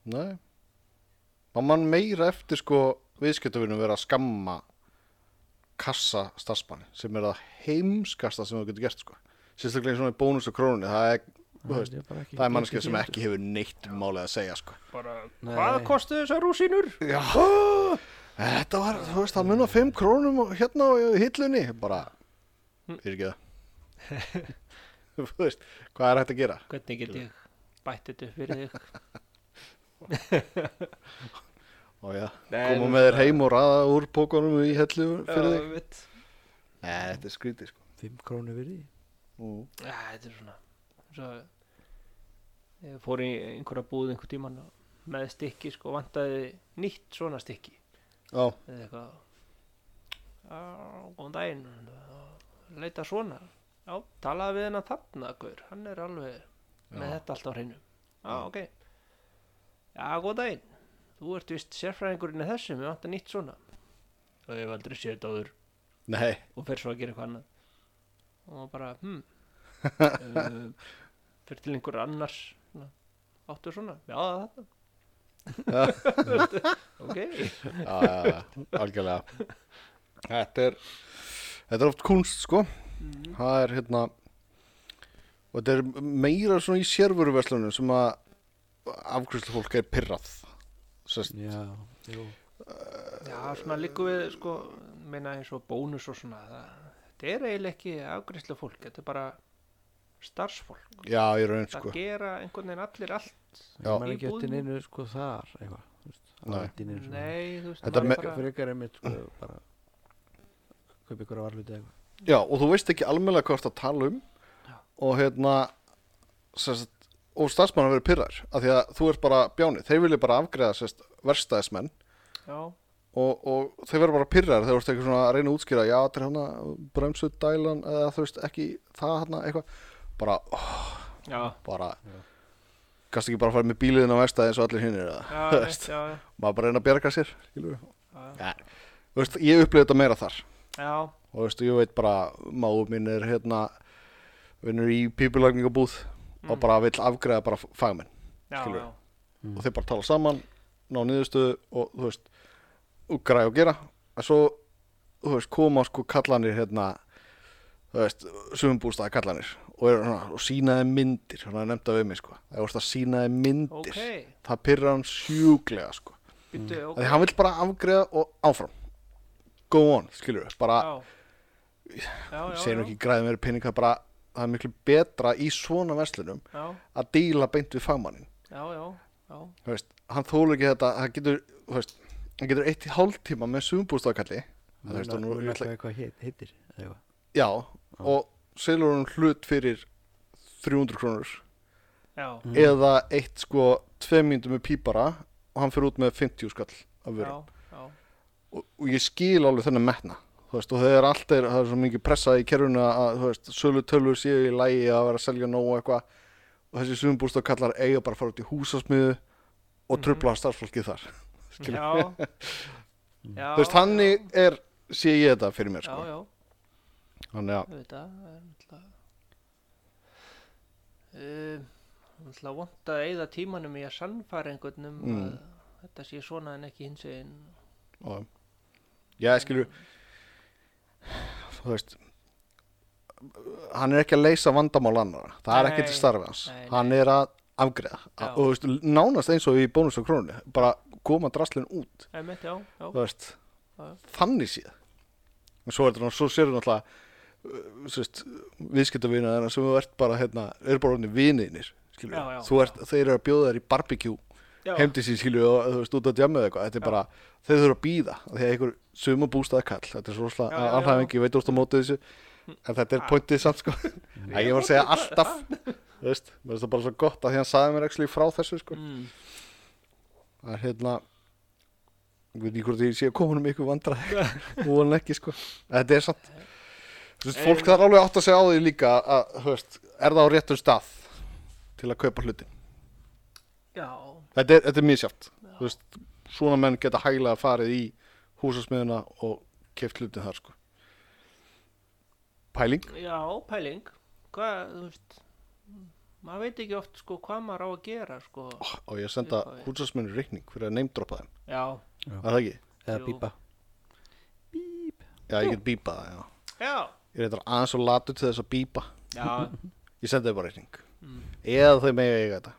Nei Má mann meira eftir sko viðskiptavinnum vera að skamma kassa starfsmanni sem er það heimskasta sem þú getur gert sko Sérstaklega eins og svona í bónus og krónunni það er, þú veist, það er mannskið sem ekki hefur neitt um málið að segja sko Bara, Nei. hvað kostu þessar rúsínur? Já <gasps> Þetta var, þú veist, það munna 5 krónum og hérna á hillunni bara, er <laughs> ekki það Þú veist, hvað er hægt að gera? Hvernig get ég bætt þetta upp fyrir þig? Ó já, <laughs> Nei, koma þú- með þér heim og raða úr pókunum í hellu Já, fyrir þig ég veit. Nei, þetta er skrítið sko 5 krónu virði mm. Æ, þetta er svona svo, ég fór í einhverja búð einhver tíman með stykki sko vantaði nýtt svona stykki Já, eða eitthvað já, góðan daginn já, leita svona já, talaði við hennan þarna gaur hann er alveg með Já. þetta allt á hreinu já, ok já, góðan daginn þú ert vist sérfræðingurinn í þessu mér vantar nýtt svona og ég hef aldrei séð þetta áður nei og fer svo að gera eitthvað annað og bara <laughs> hmm uh, fer til einhver annars svona, áttu svona, já það er <laughs> þetta ok, já, já, já, algjörlega þetta er þetta er oft kunst sko það er hérna og þetta er meira svona í sérvöruverslunum sem að afgriðslu fólk er pirrað Sest, Já Jú já svona líku við sko, meina eins og bónus og svona það, þetta er eiginlega ekki afgriðslu fólk, þetta er bara starfsfólk, já, í raun það sko gera einhvern veginn allir allt, Já. Ég man ekki Í eftir búðinni. neinu sko þar Eitthvað þú veist, á Nei. netinu svona. nei þú veist Þetta maður me- er bara- Frekar einmitt sko bara Kaupi ykkur að varluti eitthvað já, og þú veist ekki almennlega hvað það tala um Já. og hérna sest, og starfsmann að vera pirrar af því að þú ert bara bjáni, þeir vilja bara afgreða sest, verstaðismenn já, og, og þeir verður bara pyrrar þegar þú ert eitthvað svona að reyna að útskýra já, þetta er hana bremsu dælan eða þú veist ekki það hana eitthvað bara, ó, já, bara kannski ekki bara að fara með bíliðin á vestæði eins og allir hinnir já, <laughs> eða, þú rétt, veist, já, já, maður bara reyna að bjarga sér skilur við já, ja. Þú veist, ég upplifði þetta meira þar já, og þú veist, ég veit bara máður minn er hérna vinnur í pípulagningabúð Mm. og bara vill afgreða bara fagmenn já, Skilur. já, og þeir bara tala saman ná niðurstöðu og þú veist og græja og gera en svo þú veist koma sko kallanir hérna þú veist sumbústaða kallanir og, eru svona, og sínaði myndir hann hafði nefnda við mig sko það vorst að sínaði myndir ok, það pyrra hann sjúklega sko okay. býttu, ok, því hann vill bara afgreða og áfram go on skilur við bara já, já, já, segir nú ekki græða meira peninga bara það er miklu betra í svona verslunum já, að díla beint við fagmannin já, já, já, þú veist, hann þólu ekki þetta hann getur, þú veist, hann getur eitt í hálftíma með sumbústakalli þú veist, og nú, ég ætla, eitthvað eitthvað heit- heitir eða eitthvað. já, og selur hann hlut fyrir 300 krónur já, eða eitt sko tveimindum með pípara og hann fyrir út með 50 skall af já, vöru já, og, og ég skil alveg þennan metna þú veist, og það er alltaf, það er svo mikið pressa í kerfuna að, þú veist, sölu tölur séu í lægi að vera að selja nóg og eitthvað og þessi sumbústakallar eiga bara að fara út í húsasmiðu og trubla starfsfólkið þar já, <laughs> já, þú veist, þannig er sé ég þetta fyrir mér já, sko. já, þannig að, auðvitað, það er náttúrulega, um, náttúrulega vont að eyða tímanum í að sannfæra einhvern um Mm. að þetta sé svona en ekki hins veginn, og, já, skilur þú veist hann er ekki að leysa vandamál annara, það er Nei, ekki til starfi hans nei, nei. hann er að afgreða Já. og þú veist, nánast eins og í bónus og krónu bara koma draslinn út emitt, já, já, þú veist, Já. þannig séð en svo er þetta, nú- svo sérðu náttúrulega uh, þú veist, viðskiptavina þeirra sem þú ert bara, hérna, er bara orðinir viniðinir, skilur, Já, já. þú ert þeir eru að bjóða þær í barbecue já, heimdi sín skilju og þú veist út að djamma eða eitthvað þetta er bara, þeir þurfa að býða því að einhver suma bústaða kall þetta er svo Já, já, rosalega já. Ah. alhæfingi, ég veit úrst á móti þessu en þetta er pointið samt <laughs> sko Æ, ég var að segja alltaf þú veist, mér finnst það bara svo gott að því hann saði mér ekki frá þessu sko mm, það er hérna ég veit ekki hvort ég sé að koma um ykkur <laughs> vandræði og hann ekki sko En þetta er samt þú veist, Ehm. fólk þarf alveg átt að segja á því líka að, þú veist, er það á réttum stað til að kaupa hlutin já, þetta er, þetta er mjög sjátt þú veist, svona menn geta hæglega farið í húsasmiðuna og keft hlutin þar sko pæling já, pæling, hvað, þú veist, maður veit ekki oft, sko, hvað maður á að gera, sko, og Ah, ég að senda Upphafi. húsasmiðinu reikning fyrir að neymdropa þeim, já, er það ekki? eða Jú. bípa Já, ég get bípað það, já já, ég reyndar aðeins og latur til þess að bípa já, ég sendi þeim bara reikning Mm. eða þau megi eiga þetta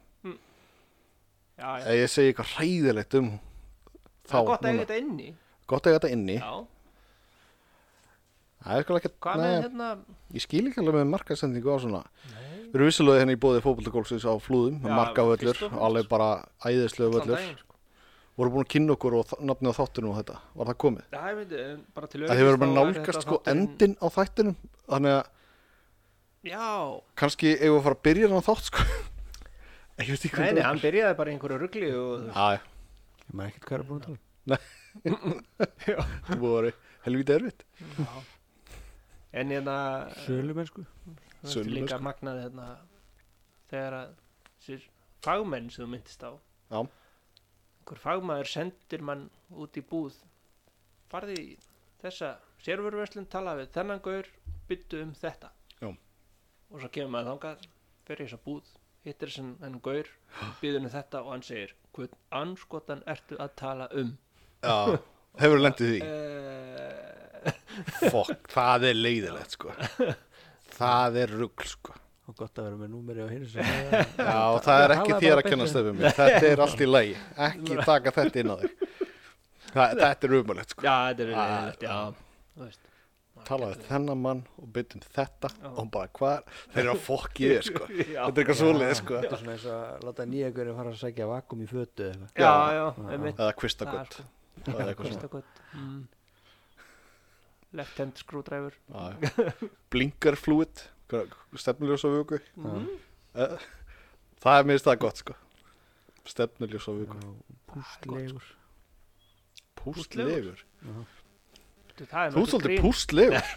já, já, eða ég segi eitthvað hræðilegt um þá það er gott að eiga núna. þetta inni, gott að eiga þetta inni já, það er sko ekki hvað með nei, hérna, ég skil ekki alveg með markasendingu á svona nei, við erum vissulega hérna í bóði fótboltakólsins á flúðum Já, markavöllur, fyrst og fremst. alveg bara æðislega allan völlur daginn, sko, voru búin að kynna okkur og nafnið á þáttunum og þetta var það komið já, ég veit, en bara til það öryggis, þá hefur verið bara væri þetta nálgast sko þátturinn- endin á þættinum þannig að já, kannski eigum við að fara að byrja hann á þátt sko <laughs> ég veit ekki Nei, hvað nei, hann byrjaði bara í einhverju ruggli og það er ég maður ekkert hvað er að búin að tala um. það búið að vera helvítið erfitt en hérna sölu mennsku þú veist Sölu, líka sko. magnaði hérna þegar að þessir fagmenn sem þú myndist á Já. einhver fagmaður sendir mann út í búð farði í þessa sérfurverslun tala við þennan gaur byttu um þetta Já. og svo kemur maður þangað fyrir þessa búð hittir þess enn gaur byður um þetta og hann segir hvern anskotan ertu að tala um já, hefur lendið því uh, Fokk, það er leiðilegt sko Það er rugl sko og gott að vera með númeri á sko. hinn <laughs> sem Já, og það er ekki talaðu þér bara að kenna stöfum mér Þetta er allt í lagi, ekki taka þetta inn á þig það, Þetta er umulegt sko <laughs> Já, þetta er Ah, leiðilegt, já Þú veist Talaðu þennan mann og byttum þetta Já. og hann bara hvað, er- þeir eru að fokk í þér sko <laughs> Já. Þetta er eitthvað svoleið sko þetta er svona eins að láta nýja hverju fara að sækja vakum í fötu eða eitthvað. Já, já, einmitt Eða Það er kvistagöld sko, Það <laughs> er eitthvað svona kostakot mm. Left hand screwdriver Já, já. Blinkarflúid Stefnuljós á vöku mm. Eh, Það er mér stað gott sko Stefnuljós á Já, vöku pústlegur Pústlegur Þú, það er Þú nú ert ekki svolítið grín. <laughs> pústlegur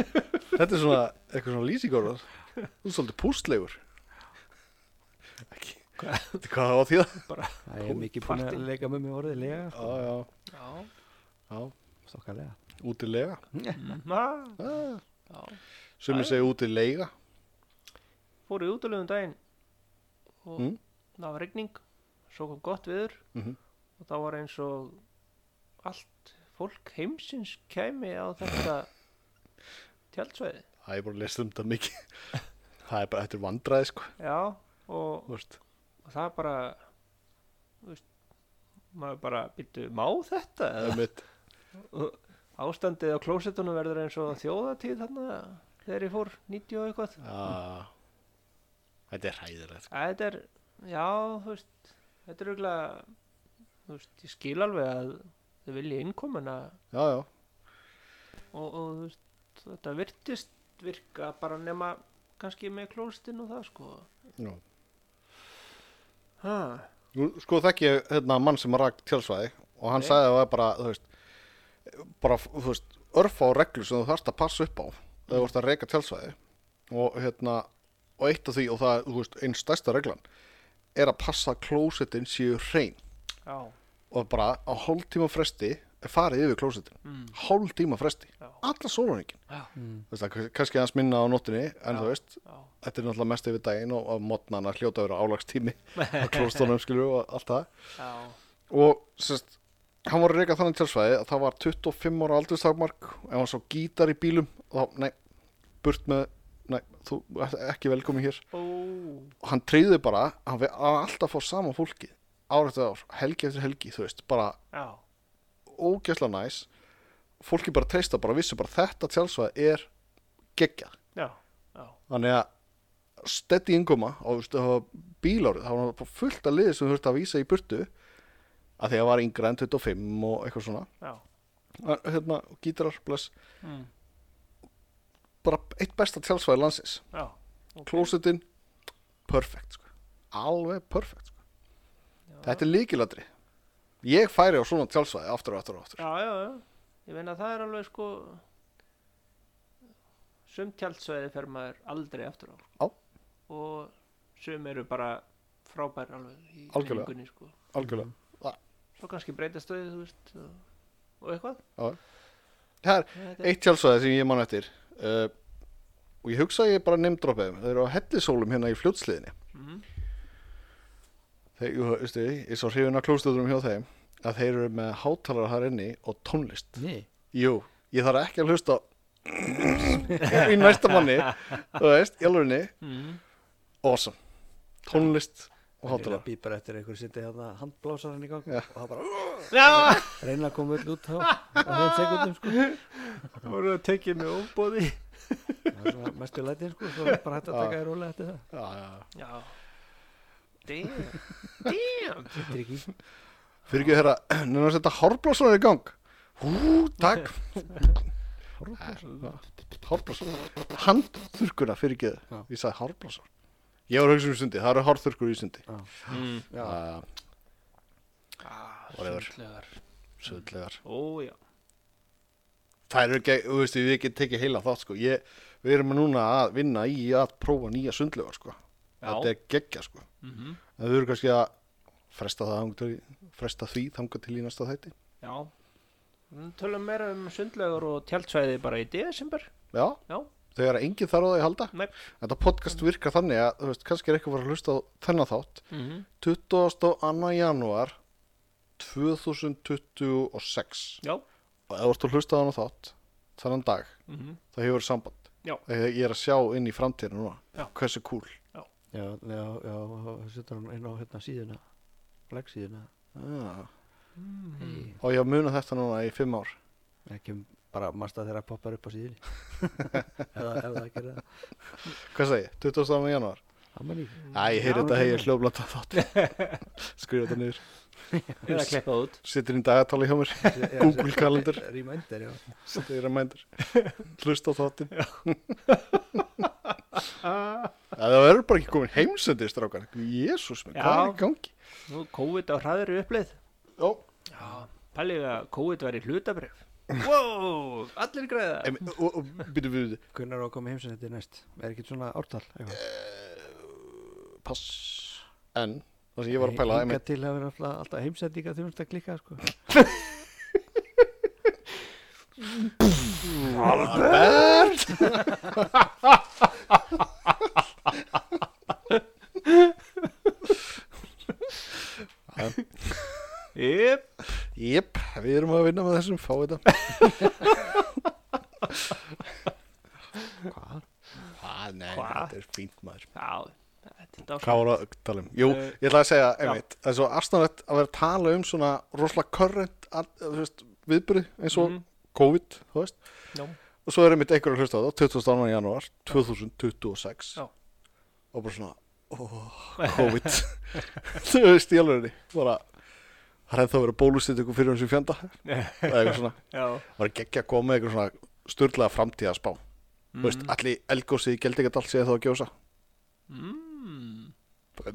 Þetta er svona eitthvað svona lýsingorðar Þú ert svolítið pústlegur Ekki Þetta er hvað það á því það Það er mikið búin að Partí. leika með mér orðið lega Já, já, Já, já, Stokkalega útilega mm, ha, ah, já. Sumir segja útilega Fóru í útilegum daginn og Mm. það var rigning svo kom gott viður Mhm. og það var eins og allt fólk heimsins kæmi á þetta tjaldsvæði Það er bara að lesa um þetta mikið <laughs> Það er bara, þetta er vandræði sko Já, og, Þú veist, og það bara þú veist, maður bara býttu má þetta það er mitt Og ástandið á klósettunum verður eins og þjóðatíð þarna þegar ég fór 90 og eitthvað ah, Þetta er hæðilegt Æ, þetta er, já, þú veist þetta er auðvitað þú veist, ég skil alveg að þau vilja innkomuna Já, já, og, og þú veist, þetta virtist virka bara nema kannski með klósettinn og það sko já. ha, Nú, sko þekki ég hérna mann sem rak tjálsvæði og hann Nei. sagði að það er bara, þú veist, bara, þú veist, örfa á reglur sem þú þarfst að passa upp á þegar Mm. þú ert að reka tjálsvæði og hérna, og eitt af því og það, er, þú veist, einn stærsta reglan er að passa að klósetin séu hrein já, og bara á hálftíma fresti er farið yfir klósetin, Mm. hálftíma fresti, Já. alla sóluningin, já, þú veist, það er kannski aðeins minna á nóttinni, en Já. þú veist, já þetta er náttúrulega mest yfir daginn og, og mótnana hljóta að vera <laughs> álagstími á klóstunum skilur og allt það já, og sérst, hann var að reyka þannig tjálsvæði að það var 25 ára aldurstakmark ef hann sá gítar í bílum þá, nei, burt með nei, þú ert ekki velkomin hér ó, og hann treyði bara, hann við hann var alltaf fór sama fólki ár eftir ár, helgi eftir helgi þú veist, bara já ógæsla næs fólki bara treysta bara, vissu bara þetta tjálsvæði er geggjað, já, já, þannig að steddi yngoma og þú veist, það var bílárið, það var fullt að liði sem þú þurfti að vísa í burtu að því að það var yngra en 25 og eitthvað svona já Að- hérna, gítarar, bless mm. bara eitt besta tjálsvæði landsins já, ok. klósetin, perfect sko. alveg perfect sko. Já. þetta er líkilatri ég færi á svona tjálsvæði aftur og aftur og aftur Já, já, já. Ég meina það er alveg sko sum tjaldsvæði fer maður aldrei aftur á. sko. Já. Og sum eru bara frábær alveg í Algjörlega. minningunni sko. algjörlega Svo kannski breytast þau, þú veist, og, og eitthvað. það er Þetta er- eitt tjálsvæði sem ég man eftir uh, og ég hugsa að ég bara neymdroppaði þeir eru á hellisólum hérna í fljótsliðinni Mhm. þeir, jú, veistu, ég svo hrifin að klósetunum hjá þeim að þeir eru með hátalara þar inni og tónlist Nei Jú, ég þarf ekki að hlusta á- í næsta manni þú veist, í alvegni Mm. Mhm. awesome, tónlist og Það er að hátalar býpar eftir einhver setja hérna handblásarinn í gang Já. og það bara Já, reyna að koma öll út á <laughs> á þeim sekundum sko það voru að tekið með óbóði. Það er svona mestu lætið sko svo er bara hægt að taka þér rólega eftir það Já. Damn. Damn. Þetta er ekki fyrir ekki að herra, nefnum að setja hárblásarinn í gang hú, takk hárblásarinn handþurkuna fyrir ekki Já. ég sagði hárblásarinn ég var að hugsa um sundi, það eru hárþurkur í sundi Mm. Já. Ah, Ah, Whatever. sundlegar. svolítlegar Ó, já. það eru ekki, þú veist, við ekki tekið heila þátt sko. ég, við erum núna að vinna í að prófa nýja sundlegar sko. Já. þetta er geggja sko. Mhm. en við erum kannski að fresta, það, þangað til- fresta því þangað til í næsta þætti Já. Nú Tölum meira um sundlegar og tjaldsvæði bara í desember. já, Já. þegar enginn þarf á það að halda Nei. þetta podcast virkar þannig að þú veist, kannski er eitthvað að fara að hlusta á þennan þátt Mhm. 22. janúar 2026 Já. og ef þú ert að hlusta á þennan þátt þennan dag, Mhm. þá hefur samband Já. ég ég er að sjá inn í framtíðinu núna Já. hversu cool Já, já, já, þá setur hann inn á hérna síðuna Leggsíðuna ah. Mm. og ég muna þetta núna í fimm ár Ekki bara masta þegar að poppar upp á síðunni Eða ef það gerir það hvað segi, 20. janúar Það menn í Æ, ég heyri Mm. Já, þetta, hei, ég ok. hljóflant að þátt skrifa þetta niður Eða kleppa út. Sittir inn dagatali hjá mér Google Calendar. Reminder, já Sittir að mændir Hlust á þáttin <laughs> Það verður bara ekki komin heimsendið strákar Jésús minn, Já. hvað er í gangi? Nú er COVID á hraðri uppleið. Já, Já. Pælið að COVID væri <laughs> hlutabref Wow, allir græða Em, og, og byrjum við Hvernig er að koma heimsynetið næst? Er ekki svona ártal? eitthvað? pass en það sem ég var að pæla em, Hingað til að vera alltaf- alltaf heimsendinga þegar þú ert að klikka sko. Albert Jep, Jep, við erum að vinna með þessum fá þetta Hvað? Hvað, nei, Hva? þetta er fínt maður já, þetta er dásan Hvað voru að tala um? Jú, Eh, ég ætla að segja, já. einmitt, það er svo afstæðanlegt að vera að tala um svona rosalega körrent viðbyrði eins og Mhm. COVID, þú veist Já. og svo er einmitt einhverju að hlusta á það, 22. janúar 2026 Já. og bara svona, ó, COVID <laughs> þú veist, í alveg bara, það er ennþá að vera bólusið ykkur fyrir hans í fjönda <laughs> eða eitthvað svona, Já, var ekki að koma með eitthvað svona sturlaða framtíðaspá þú veist, allir elgósið í Geldingadal segja þá að gjósa mm,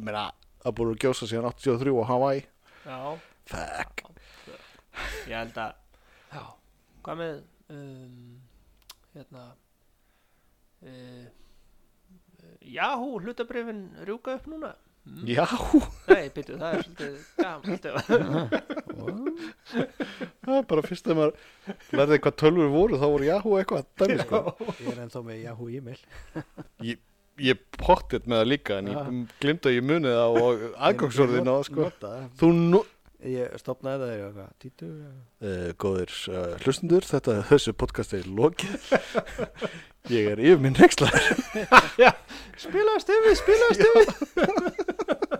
meina, það er búin að gjósa síðan 83 á Hawaii já Fuck. Ég held að Já, hvað með um, Hérna uh, Yahoo hlutabrifin rjúka upp núna mm. Já, Nei, byrju, það er svolítið gamalt <laughs> það er bara fyrst þegar maður lærði hvað tölvur voru þá voru Yahoo eitthvað dæmi sko. Ég er ennþá með Yahoo e-mail Ég, ég pottið með það líka en ég glimta að ég munið það og aðgangsorðin á það sko. Nota það. Þú nú... Ég stopnaði það þegar ég var títur Uh, góðir uh, hlustundur, þetta þessu podcast er lokið. ég er yfir minn hrekslar. Spila stufi, spila stufi <laughs>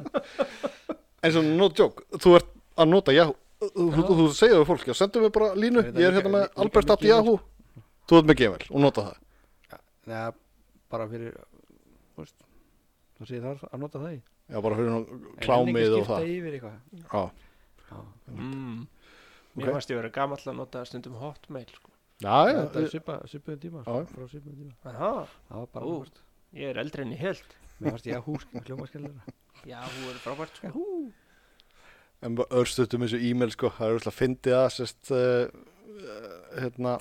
En svo no joke, þú ert að nota Yahoo. Þú, þú, þú segir við fólk, já, sendu mér bara línu, Ég veit það ég er hérna líka- með líka Albert með Abdi Yahoo. Þú ert með Gmail og nota það. Neða, bara fyrir þú veist, Þú sé það að nota það í Já, bara fyrir nú En klámið ekki og það. skipta yfir eitthvað Já, Já. mm. Ok. Mér fannst ég vera gamall að nota stundum hotmail sko. já, já. Þetta er svipa- svipuðum tíma sko, Já. Frá svipuðum tíma Aha, Það var bara Ú. annarkvort. ég er eldri en ég held Mér fannst <laughs> Yahoo sko, hljóma skellur Yahoo er frábært sko. En bara örstuðt um þessu e-mail sko, það er alltaf að fyndi það, sérst, uh, hérna,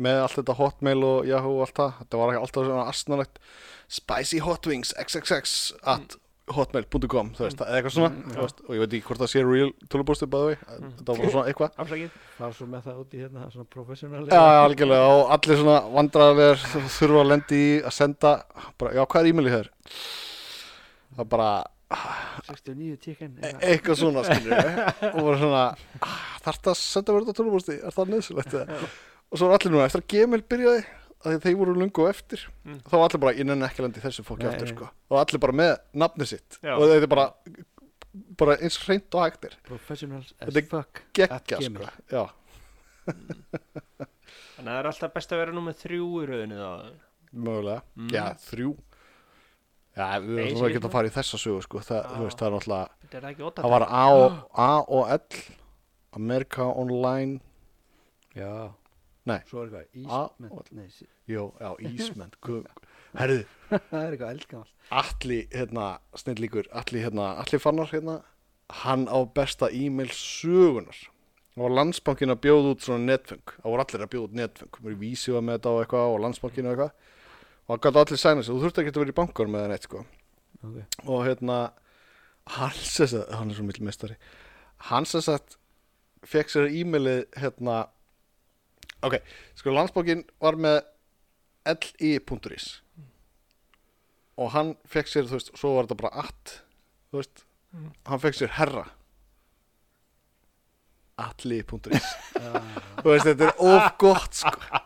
með allt þetta hotmail og Yahoo og allt það, þetta var ekki alltaf svona asnalegt, spicy hot wings xxx Mm. at hotmail.com, þú veist, eða eitthvað svona, Mm, já. þú veist, og ég veit ekki hvort það sé real tölubúrstu bæði, mm. þetta var bara svona eitthvað. Afsakið Far svo með það út í hérna Svona Já, professional já, algjörlega, og allir svona vandræðar þurfa að lendi í að senda, bara, já, hvað er e-mailið þér? Það er bara 69 tíkin e- eitthvað svona, skilur og bara svona, þarf það að senda verið á tölubúrsti, er það nöðsulegt eða? og svo er allir núna eftir að Gmail byrjaði að því að þeir voru lungu á eftir Mm. þá var allir bara, ég nenni ekki að lenda í þessu fólki Nei, aftur nei. sko. og allir bara með nafni sitt Já. og þetta er bara, bara eins hreint og hægtir Professionals as Þetta er fuck geggja At sko. Gmail. Já. Þannig að það er alltaf best að vera númer þrjú í rauðinu þá mögulega, Mm. já, þrjú já, við Nei, erum segir svo ekki þú. að fara í þessa sögu sko. það, Já. þú veist, það er náttúrulega Þetta er það ekki óta það var A og, A og L America Online Já Nei. Svo er eitthvað Ah, Ísmend Nei, sí- Jó, já, Ísmend <laughs> guð- herðu, <laughs> það er eitthvað eldgammal Alli, hérna, snillíkur, Alli, hérna, Alli Fannar, hérna, hann á besta e-mail sögunar. Það var landsbankin að bjóða út svona netfeng. Það voru allir að bjóða út netfeng. Mér vísi var með þetta og eitthvað og landsbankin og eitthvað. Og hann gæti allir sæna sig. Þú þurfti ekki að vera í bankanum með það neitt, sko. okay. Og hérna, hann <laughs> sess að, hann er svo mikil mistari. Hann sess að, fekk sér e-mailið, hérna, ok, sko, landsbankin var með li.is og hann fekk sér, þú veist, svo var þetta bara at, þú veist, Mm. hann fekk sér herra atli.is ah, þú veist, þetta er of gott, sko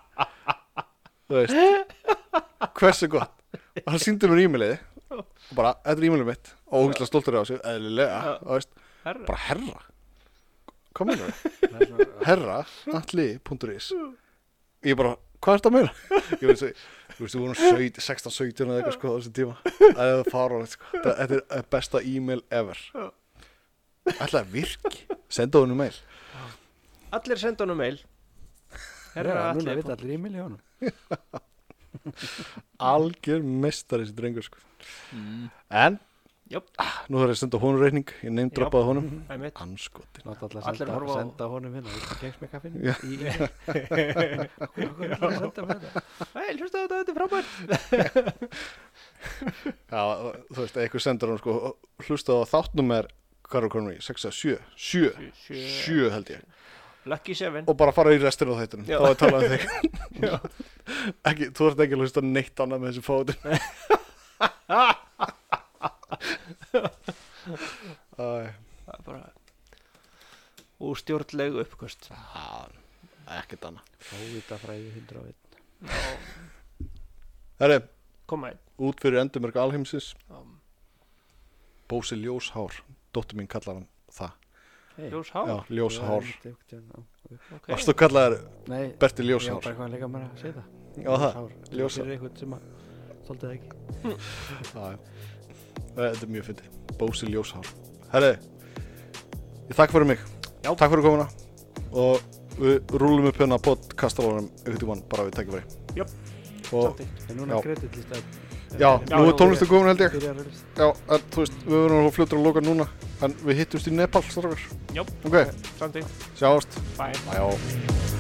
þú veist hversu gott og hann síndi mér e-mailið og bara, þetta er e-mailið mitt og ógæslega stoltur á sig, eðlilega Já. þú veist, Herra, bara herra hvað meinar þau? það er svona- herra, atli.is ég bara, hvað er þetta að meina? <laughs> ég veist, þú veist, þú vorum 17, 16, 17 eða eitthvað sko á þessum tíma það er fáránlegt sko, Þetta- þetta er besta e-mail ever Já. ætlaði að virki, senda honum mail allir senda honum mail Herra, Já, Núna allir veit allir e-mail í honum algjör mestari þessi drengur sko Mm. en, Jöp. Nú þarf ég að senda honum reyning, ég neymdrappaði honum einmitt. Anskoti Láta alla Allir senda, horfa á- senda honum hérna Þú kegst með kaffinu Já. Í- í- Akkur- akkur er allir að senda mér þetta? Hey, hlusta á þetta, þetta er frábært Já, þú veist, eitthvað sendur hann sko Hlustaðu á þáttnum er, hvað er konum í, 6 að 7 7, Sjö. 7 held ég Lucky Seven Og bara fara í restina á þættunum, Já. þá er talað um þig <laughs> ekki, Þú ert ekki að hlusta á neitt annað með þessu fótum <laughs> Æ, Það er bara Ústjórnlegu uppkvöst Já, ekkert annað Fávitafræði 101 Herri, Koma einn út fyrir endumörk alheimsins Já. Bósi Ljóshár, dóttir mín kallar hann það Hey, Ljós Já, hár Ljóshár ég var einmitt einhvern tímann á- Ok. Varstu kallaðar Nei, Berti ég var Ljóshár bara hvað að leika mér að segja það Já, það Ljóshár. Ljósar Fyrir einhvern sem að Þóldi það ekki Já, já. Þetta er mjög fyndi Bósi Ljóshár Herri, ég takk fyrir mig Já. Takk fyrir komuna Og við rúlum upp hérna podcastalónum Ykkur tímann bara við tekjum fyrir Jöp. Og En núna Já. kreditlist að já, nú nú er tónlistu komin held ég Byrja að verðist Já, en, þú veist, við verðum að fljótur að loka núna En við hittumst í Nepal, strákar Jöp. Ok, Samtík sjáast Bye Bæjó